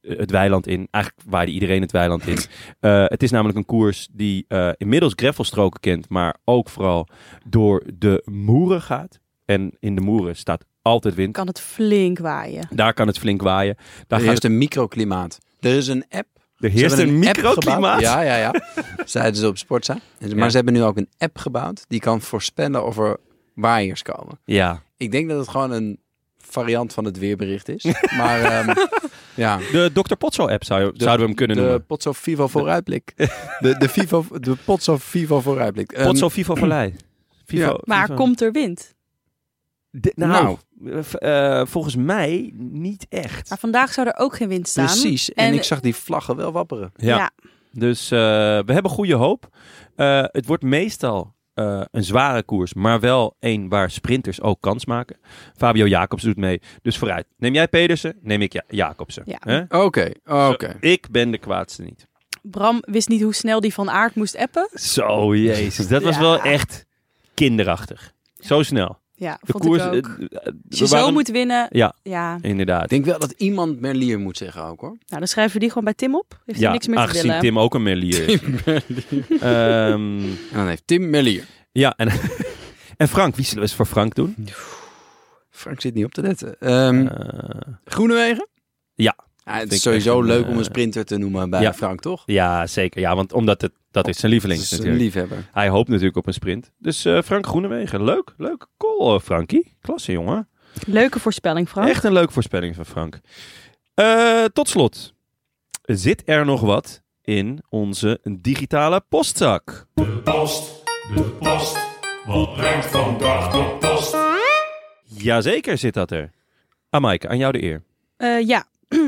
Speaker 4: het weiland in. Eigenlijk waaide iedereen het weiland in. Eh, het is namelijk een koers die eh, inmiddels greffelstroken kent, maar ook vooral door de moeren gaat. En in de Moeren staat altijd wind.
Speaker 5: Kan het flink waaien.
Speaker 4: Daar kan het flink waaien. Daar
Speaker 3: Er
Speaker 4: gaat het,
Speaker 3: heerst een microklimaat. Er is een app.
Speaker 4: er
Speaker 3: Ze
Speaker 4: heerst
Speaker 3: hebben
Speaker 4: een
Speaker 3: app gebouwd.
Speaker 4: microklimaat.
Speaker 3: Ja, ja, ja. Zeiden ze op Sportza. En ze- Maar
Speaker 4: Ja.
Speaker 3: ze hebben nu ook een app gebouwd die kan voorspellen of er waaiers komen.
Speaker 4: ja.
Speaker 3: Ik denk dat het gewoon een variant van het weerbericht is. Maar ehm, ja.
Speaker 4: De Dr. Potso app zou, je- zouden we hem kunnen
Speaker 3: de
Speaker 4: noemen.
Speaker 3: Potso Vivo vooruitblik. De, de, Vivo, de Potso Vivo vooruitblik. Ehm,
Speaker 4: Potso Vivo Vallei. Vivo,
Speaker 3: Ja.
Speaker 5: Maar
Speaker 4: Vivo-
Speaker 5: komt er wind?
Speaker 4: De- nou, eh, eh, volgens mij niet echt.
Speaker 5: Maar vandaag zou er ook geen wind staan.
Speaker 3: Precies. En,
Speaker 5: En-
Speaker 3: ik zag die vlaggen wel wapperen.
Speaker 5: Ja.
Speaker 4: Dus eh, we hebben goede hoop. Eh, het wordt meestal eh, een zware koers, maar wel een waar sprinters ook kans maken. Fabio Jacobs doet mee. Dus vooruit. Neem jij Pedersen, neem ik ja Jacobsen.
Speaker 5: Ja.
Speaker 4: Hè?
Speaker 3: Oké, oké.
Speaker 4: Ik ben de kwaadste niet.
Speaker 5: Bram wist niet hoe snel die van aard moest appen.
Speaker 4: Zo, jezus. Dat was
Speaker 5: Ja.
Speaker 4: wel echt kinderachtig. Zo snel.
Speaker 5: Ja,
Speaker 4: De
Speaker 5: vond
Speaker 4: koers.
Speaker 5: ik ook.
Speaker 4: eh,
Speaker 5: Als
Speaker 4: eh, we
Speaker 5: je zo
Speaker 4: waren-
Speaker 5: moet winnen,
Speaker 4: Ja,
Speaker 5: ja.
Speaker 4: inderdaad.
Speaker 3: Ik denk wel dat iemand Merlier moet zeggen ook hoor.
Speaker 5: Nou, dan schrijven we die gewoon bij Tim op. Heeft
Speaker 4: ja,
Speaker 5: hij niks meer te
Speaker 4: aangezien
Speaker 5: willen.
Speaker 4: Tim ook een Merlier is. Ehm,
Speaker 3: En dan heeft Tim Merlier.
Speaker 4: ja, en, en Frank. Wie zullen we eens voor Frank doen?
Speaker 3: Frank zit niet op te letten. Ehm
Speaker 4: Eh,
Speaker 3: Groenewegen?
Speaker 4: Ja.
Speaker 3: Ah, het
Speaker 4: Vind ik
Speaker 3: is sowieso
Speaker 4: echt een,
Speaker 3: leuk om
Speaker 4: eh,
Speaker 3: een sprinter te noemen bij
Speaker 4: ja.
Speaker 3: Frank, toch?
Speaker 4: ja, zeker. Ja, want omdat het, dat is
Speaker 3: Het
Speaker 4: zijn lievelings
Speaker 3: is een
Speaker 4: natuurlijk.
Speaker 3: liefhebber.
Speaker 4: Hij hoopt natuurlijk op een sprint. Dus eh, Frank Groenewegen. Leuk, leuk. Cool, eh, Frankie. Klasse, jongen.
Speaker 5: Leuke voorspelling, Frank.
Speaker 4: Echt een leuke voorspelling van Frank. Eh, tot slot. Zit er nog wat in onze digitale postzak?
Speaker 9: post, de post. Wat brengt vandaag de post?
Speaker 4: Jazeker zit dat er. Amaike, aan jou de eer.
Speaker 5: Eh, ja,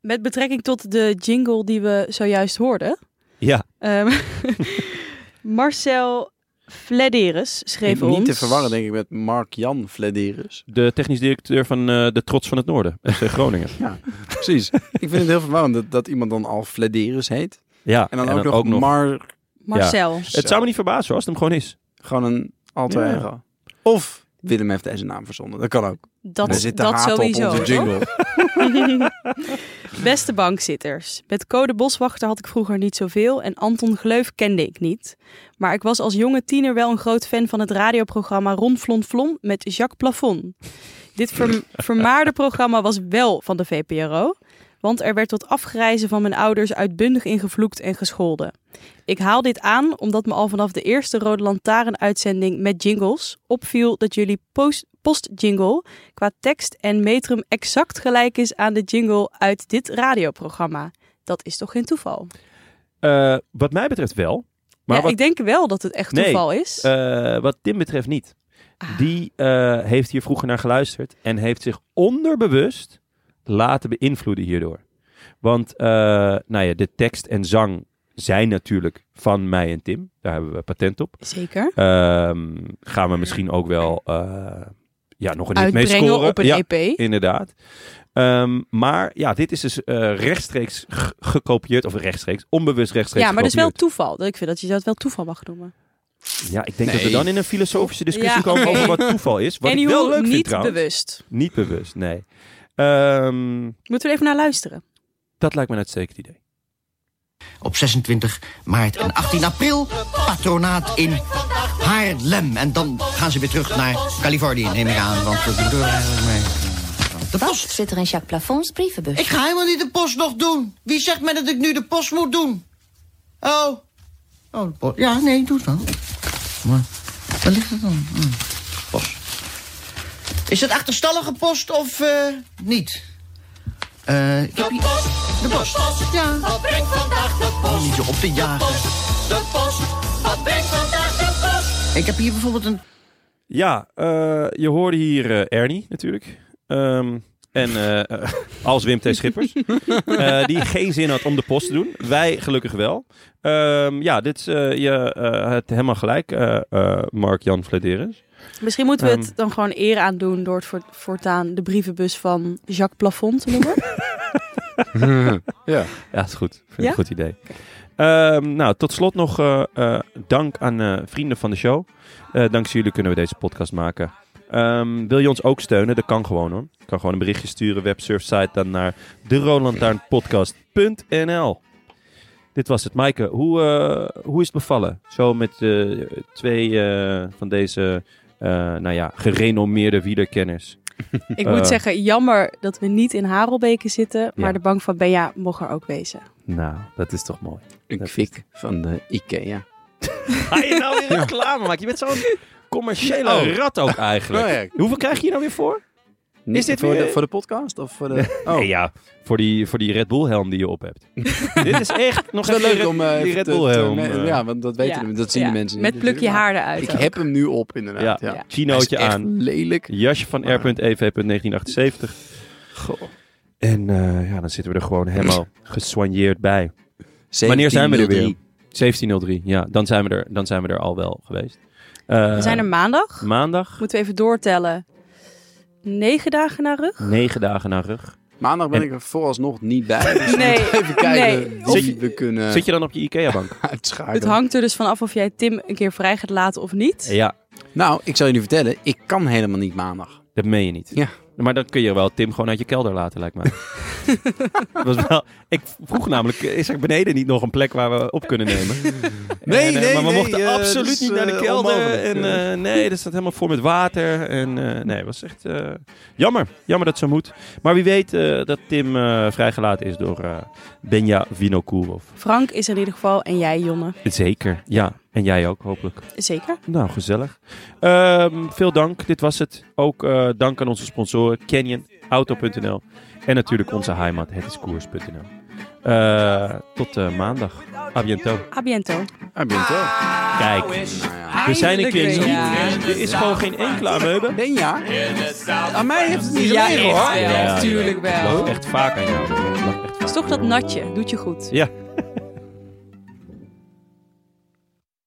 Speaker 5: met betrekking tot de jingle die we zojuist hoorden.
Speaker 4: Ja.
Speaker 5: Ehm, Marcel Flederis schreef ons...
Speaker 3: Niet te verwarren denk ik met Mark-Jan Flederis.
Speaker 4: De technisch directeur van eh, de Trots van het Noorden, FC Groningen.
Speaker 3: Precies. ik vind het heel verwarrend dat, dat iemand dan al Flederis heet.
Speaker 4: Ja,
Speaker 3: En dan, ook, nog Mark.
Speaker 5: Marcel.
Speaker 4: Het zou me niet verbazen hoor, als het hem gewoon is.
Speaker 3: Gewoon een alter
Speaker 4: Ja.
Speaker 3: ego. Of Willem heeft deze naam verzonnen. Dat kan ook.
Speaker 5: Dat,
Speaker 3: er zit de
Speaker 5: dat
Speaker 3: haat
Speaker 5: sowieso.
Speaker 3: op onze jingle.
Speaker 5: Beste bankzitters, met code boswachter had ik vroeger niet zoveel en Anton Gleuf kende ik niet. Maar ik was als jonge tiener wel een groot fan van het radioprogramma Ron Flon Flon met Jacques Plafond. Dit verm- vermaarde programma was wel van de VPRO, want er werd tot afgrijzen van mijn ouders uitbundig ingevloekt en gescholden. Ik haal dit aan omdat me al vanaf de eerste Rode Lantaarn-uitzending met jingles opviel dat jullie post- post-jingle qua tekst en metrum exact gelijk is aan de jingle uit dit radioprogramma. Dat is toch geen toeval?
Speaker 4: Eh, wat mij betreft wel. Maar
Speaker 5: ja,
Speaker 4: wat,
Speaker 5: ik denk wel dat het echt
Speaker 4: Nee,
Speaker 5: toeval is.
Speaker 4: eh, wat Tim betreft niet.
Speaker 5: Ah.
Speaker 4: Die eh, heeft hier vroeger naar geluisterd en heeft zich onderbewust laten beïnvloeden hierdoor. Want eh, nou ja, de tekst en zang zijn natuurlijk van mij en Tim. Daar hebben we patent op.
Speaker 5: Zeker.
Speaker 4: Ehm, gaan we misschien ook wel eh, ja, nog een hit mee
Speaker 5: Uitbrengen
Speaker 4: scoren.
Speaker 5: op een E
Speaker 4: ja,
Speaker 5: EP.
Speaker 4: inderdaad. Ehm, maar ja, dit is dus eh, rechtstreeks g- gekopieerd. Of rechtstreeks, onbewust rechtstreeks
Speaker 5: Ja, maar dat is wel
Speaker 4: gekopieerd.
Speaker 5: toeval. Ik vind dat je dat wel toeval mag noemen.
Speaker 4: Ja, ik denk dat we
Speaker 3: Nee.
Speaker 4: dan in een filosofische discussie
Speaker 5: Ja,
Speaker 4: komen
Speaker 5: oké.
Speaker 4: over wat toeval is. Wat
Speaker 5: en
Speaker 4: ik wel leuk
Speaker 5: niet
Speaker 4: vind trouwens.
Speaker 5: bewust.
Speaker 4: Niet bewust, nee. Ehm,
Speaker 5: Moeten we er even naar luisteren?
Speaker 4: dat lijkt me een uitstekend idee.
Speaker 10: Op 26 maart en 18 april patronaat in Haarlem. En dan gaan ze weer terug naar Californië, neem ik aan. Want we doen eigenlijk mee. De post.
Speaker 11: Zit er in Jacques Plafonds brievenbus?
Speaker 10: Ik ga helemaal niet de post nog doen. Wie zegt mij dat ik nu de post moet doen? Oh. Oh, de post. Ja, nee, doe het wel. Maar waar ligt het dan? Hm, Post. Is het achterstallige post of eh, niet? Eh, ik heb hier... De post. Ja. Wat brengt vandaag de post? niet zo op te jagen. De post. Wat brengt vandaag de post? Ik heb hier bijvoorbeeld een
Speaker 4: Ja, eh, je hoorde hier eh, Ernie natuurlijk. Ehm, en eh, als Wim T. Schippers. Eh, die geen zin had om de post te doen. Wij gelukkig wel. Ehm, ja, dit is, eh, je eh, het helemaal gelijk, eh, eh, Mark-Jan Vladeris.
Speaker 5: Misschien moeten we
Speaker 4: Ehm.
Speaker 5: het dan gewoon eer aan doen door het voort- voortaan de brievenbus van Jacques Plafond te noemen.
Speaker 3: ja.
Speaker 4: Ja, is goed. Vind ik
Speaker 5: Ja?
Speaker 4: een goed idee. Ehm, nou, tot slot nog eh, eh, dank aan eh, vrienden van de show. Eh, dankzij jullie kunnen we deze podcast maken. Ehm, wil je ons ook steunen? Dat kan gewoon hoor. Je kan gewoon een berichtje sturen, websurfsite, dan naar derolantaarnpodcast.nl. Dit was het. Maaike, hoe, eh, hoe is het bevallen? Zo met eh, twee eh, van deze eh, nou ja, gerenommeerde wielerkenners.
Speaker 5: Ik moet
Speaker 4: Eh,
Speaker 5: zeggen, jammer dat we niet in Harelbeke zitten. Maar
Speaker 4: Ja.
Speaker 5: de bank van Benja mocht er ook wezen.
Speaker 4: Nou, dat is toch mooi.
Speaker 3: Een
Speaker 4: Dat-
Speaker 3: kwik van de Ikea.
Speaker 4: Oh, Ga je nou weer reclame maken? Je bent zo'n commerciële
Speaker 3: Oh.
Speaker 4: rat ook eigenlijk.
Speaker 3: Oh ja. Oh.
Speaker 4: Hoeveel krijg je hier nou weer voor?
Speaker 3: Niet
Speaker 4: dit
Speaker 3: voor,
Speaker 4: weer-
Speaker 3: de, voor de podcast? Of voor de... Oh,
Speaker 4: Nee, ja, voor die, voor die Red Bull helm die je op hebt. Dit is echt nog
Speaker 3: het is wel
Speaker 4: even die
Speaker 3: leuk
Speaker 4: Red-
Speaker 3: om... eh,
Speaker 4: die
Speaker 3: even
Speaker 4: Red
Speaker 3: te-
Speaker 4: Bull
Speaker 3: te-
Speaker 4: helm.
Speaker 3: me-
Speaker 4: eh,
Speaker 3: Ja, want dat weten
Speaker 5: Ja.
Speaker 3: we, dat zien
Speaker 5: Ja.
Speaker 3: de mensen.
Speaker 5: Met
Speaker 3: niet
Speaker 5: plukje
Speaker 3: natuurlijk,
Speaker 5: haar
Speaker 3: maar
Speaker 5: eruit.
Speaker 3: Ik
Speaker 5: ook.
Speaker 3: heb hem nu op,
Speaker 4: ja,
Speaker 3: inderdaad. Ja. Hij is
Speaker 4: chinootje
Speaker 3: echt
Speaker 4: aan.
Speaker 3: lelijk.
Speaker 4: Jasje van
Speaker 3: Maar-
Speaker 4: r.ev.1978.
Speaker 3: Goh.
Speaker 4: En eh, ja, dan zitten we er gewoon helemaal gesoigneerd bij.
Speaker 3: 1703.
Speaker 4: Wanneer zijn we er weer? 1703, ja. Dan zijn we er, dan zijn we er al wel geweest. Eh,
Speaker 5: we zijn er maandag.
Speaker 4: maandag,
Speaker 5: Moeten we even doortellen. Negen dagen naar rug.
Speaker 4: negen dagen naar rug.
Speaker 3: Maandag ben ik er vooralsnog niet bij. Dus we
Speaker 5: Nee,
Speaker 3: moeten even kijken
Speaker 5: nee.
Speaker 3: of
Speaker 4: Zit-
Speaker 3: we kunnen
Speaker 4: Zit je dan op je IKEA-bank?
Speaker 3: uitschakelen.
Speaker 5: Het hangt er dus vanaf of jij Tim een keer vrij gaat laten of niet.
Speaker 4: ja,
Speaker 3: Nou, ik zal je nu vertellen. Ik kan helemaal niet maandag.
Speaker 4: dat meen je niet.
Speaker 3: Ja.
Speaker 4: Maar dan kun je wel Tim gewoon uit je kelder laten, lijkt mij. Dat was wel, ik vroeg namelijk, is er beneden niet nog een plek waar we op kunnen nemen?
Speaker 3: Nee,
Speaker 4: En, eh,
Speaker 3: nee,
Speaker 4: Maar we
Speaker 3: nee,
Speaker 4: mochten
Speaker 3: eh,
Speaker 4: absoluut
Speaker 3: dat is,
Speaker 4: niet naar de
Speaker 3: eh,
Speaker 4: kelder.
Speaker 3: onmogelijk.
Speaker 4: En, eh, nee, dat staat helemaal vol met water. En eh, nee, het was echt eh, jammer. Jammer dat het zo moet. Maar wie weet eh, dat Tim eh, vrijgelaten is door eh, Benja Vinokourov.
Speaker 5: Frank is er in ieder geval en jij, Jonne.
Speaker 4: Zeker, ja. En jij ook, hopelijk.
Speaker 5: Zeker.
Speaker 4: Nou, gezellig. Ehm, veel dank, dit was het. Ook eh, dank aan onze sponsoren Canyon, Auto.nl en natuurlijk onze heimat, hetiskoers.nl. Eh, tot eh, maandag. A bientôt.
Speaker 5: A biento.
Speaker 3: Ah, ben je het wel?
Speaker 4: Kijk, we zijn een keer
Speaker 5: Eindelijk
Speaker 4: zo.
Speaker 5: weer, ja.
Speaker 4: Er is gewoon geen enkele ameuben.
Speaker 3: Benja? Aan mij heeft het niet
Speaker 5: Ja,
Speaker 3: gelegen, hoor.
Speaker 5: echt wel.
Speaker 4: Ja, ja.
Speaker 5: Tuurlijk
Speaker 4: Ik
Speaker 5: wel.
Speaker 4: lach echt vaak aan jou. Ik lach echt vaak.
Speaker 5: Is toch dat natje. Doet je goed.
Speaker 4: Ja.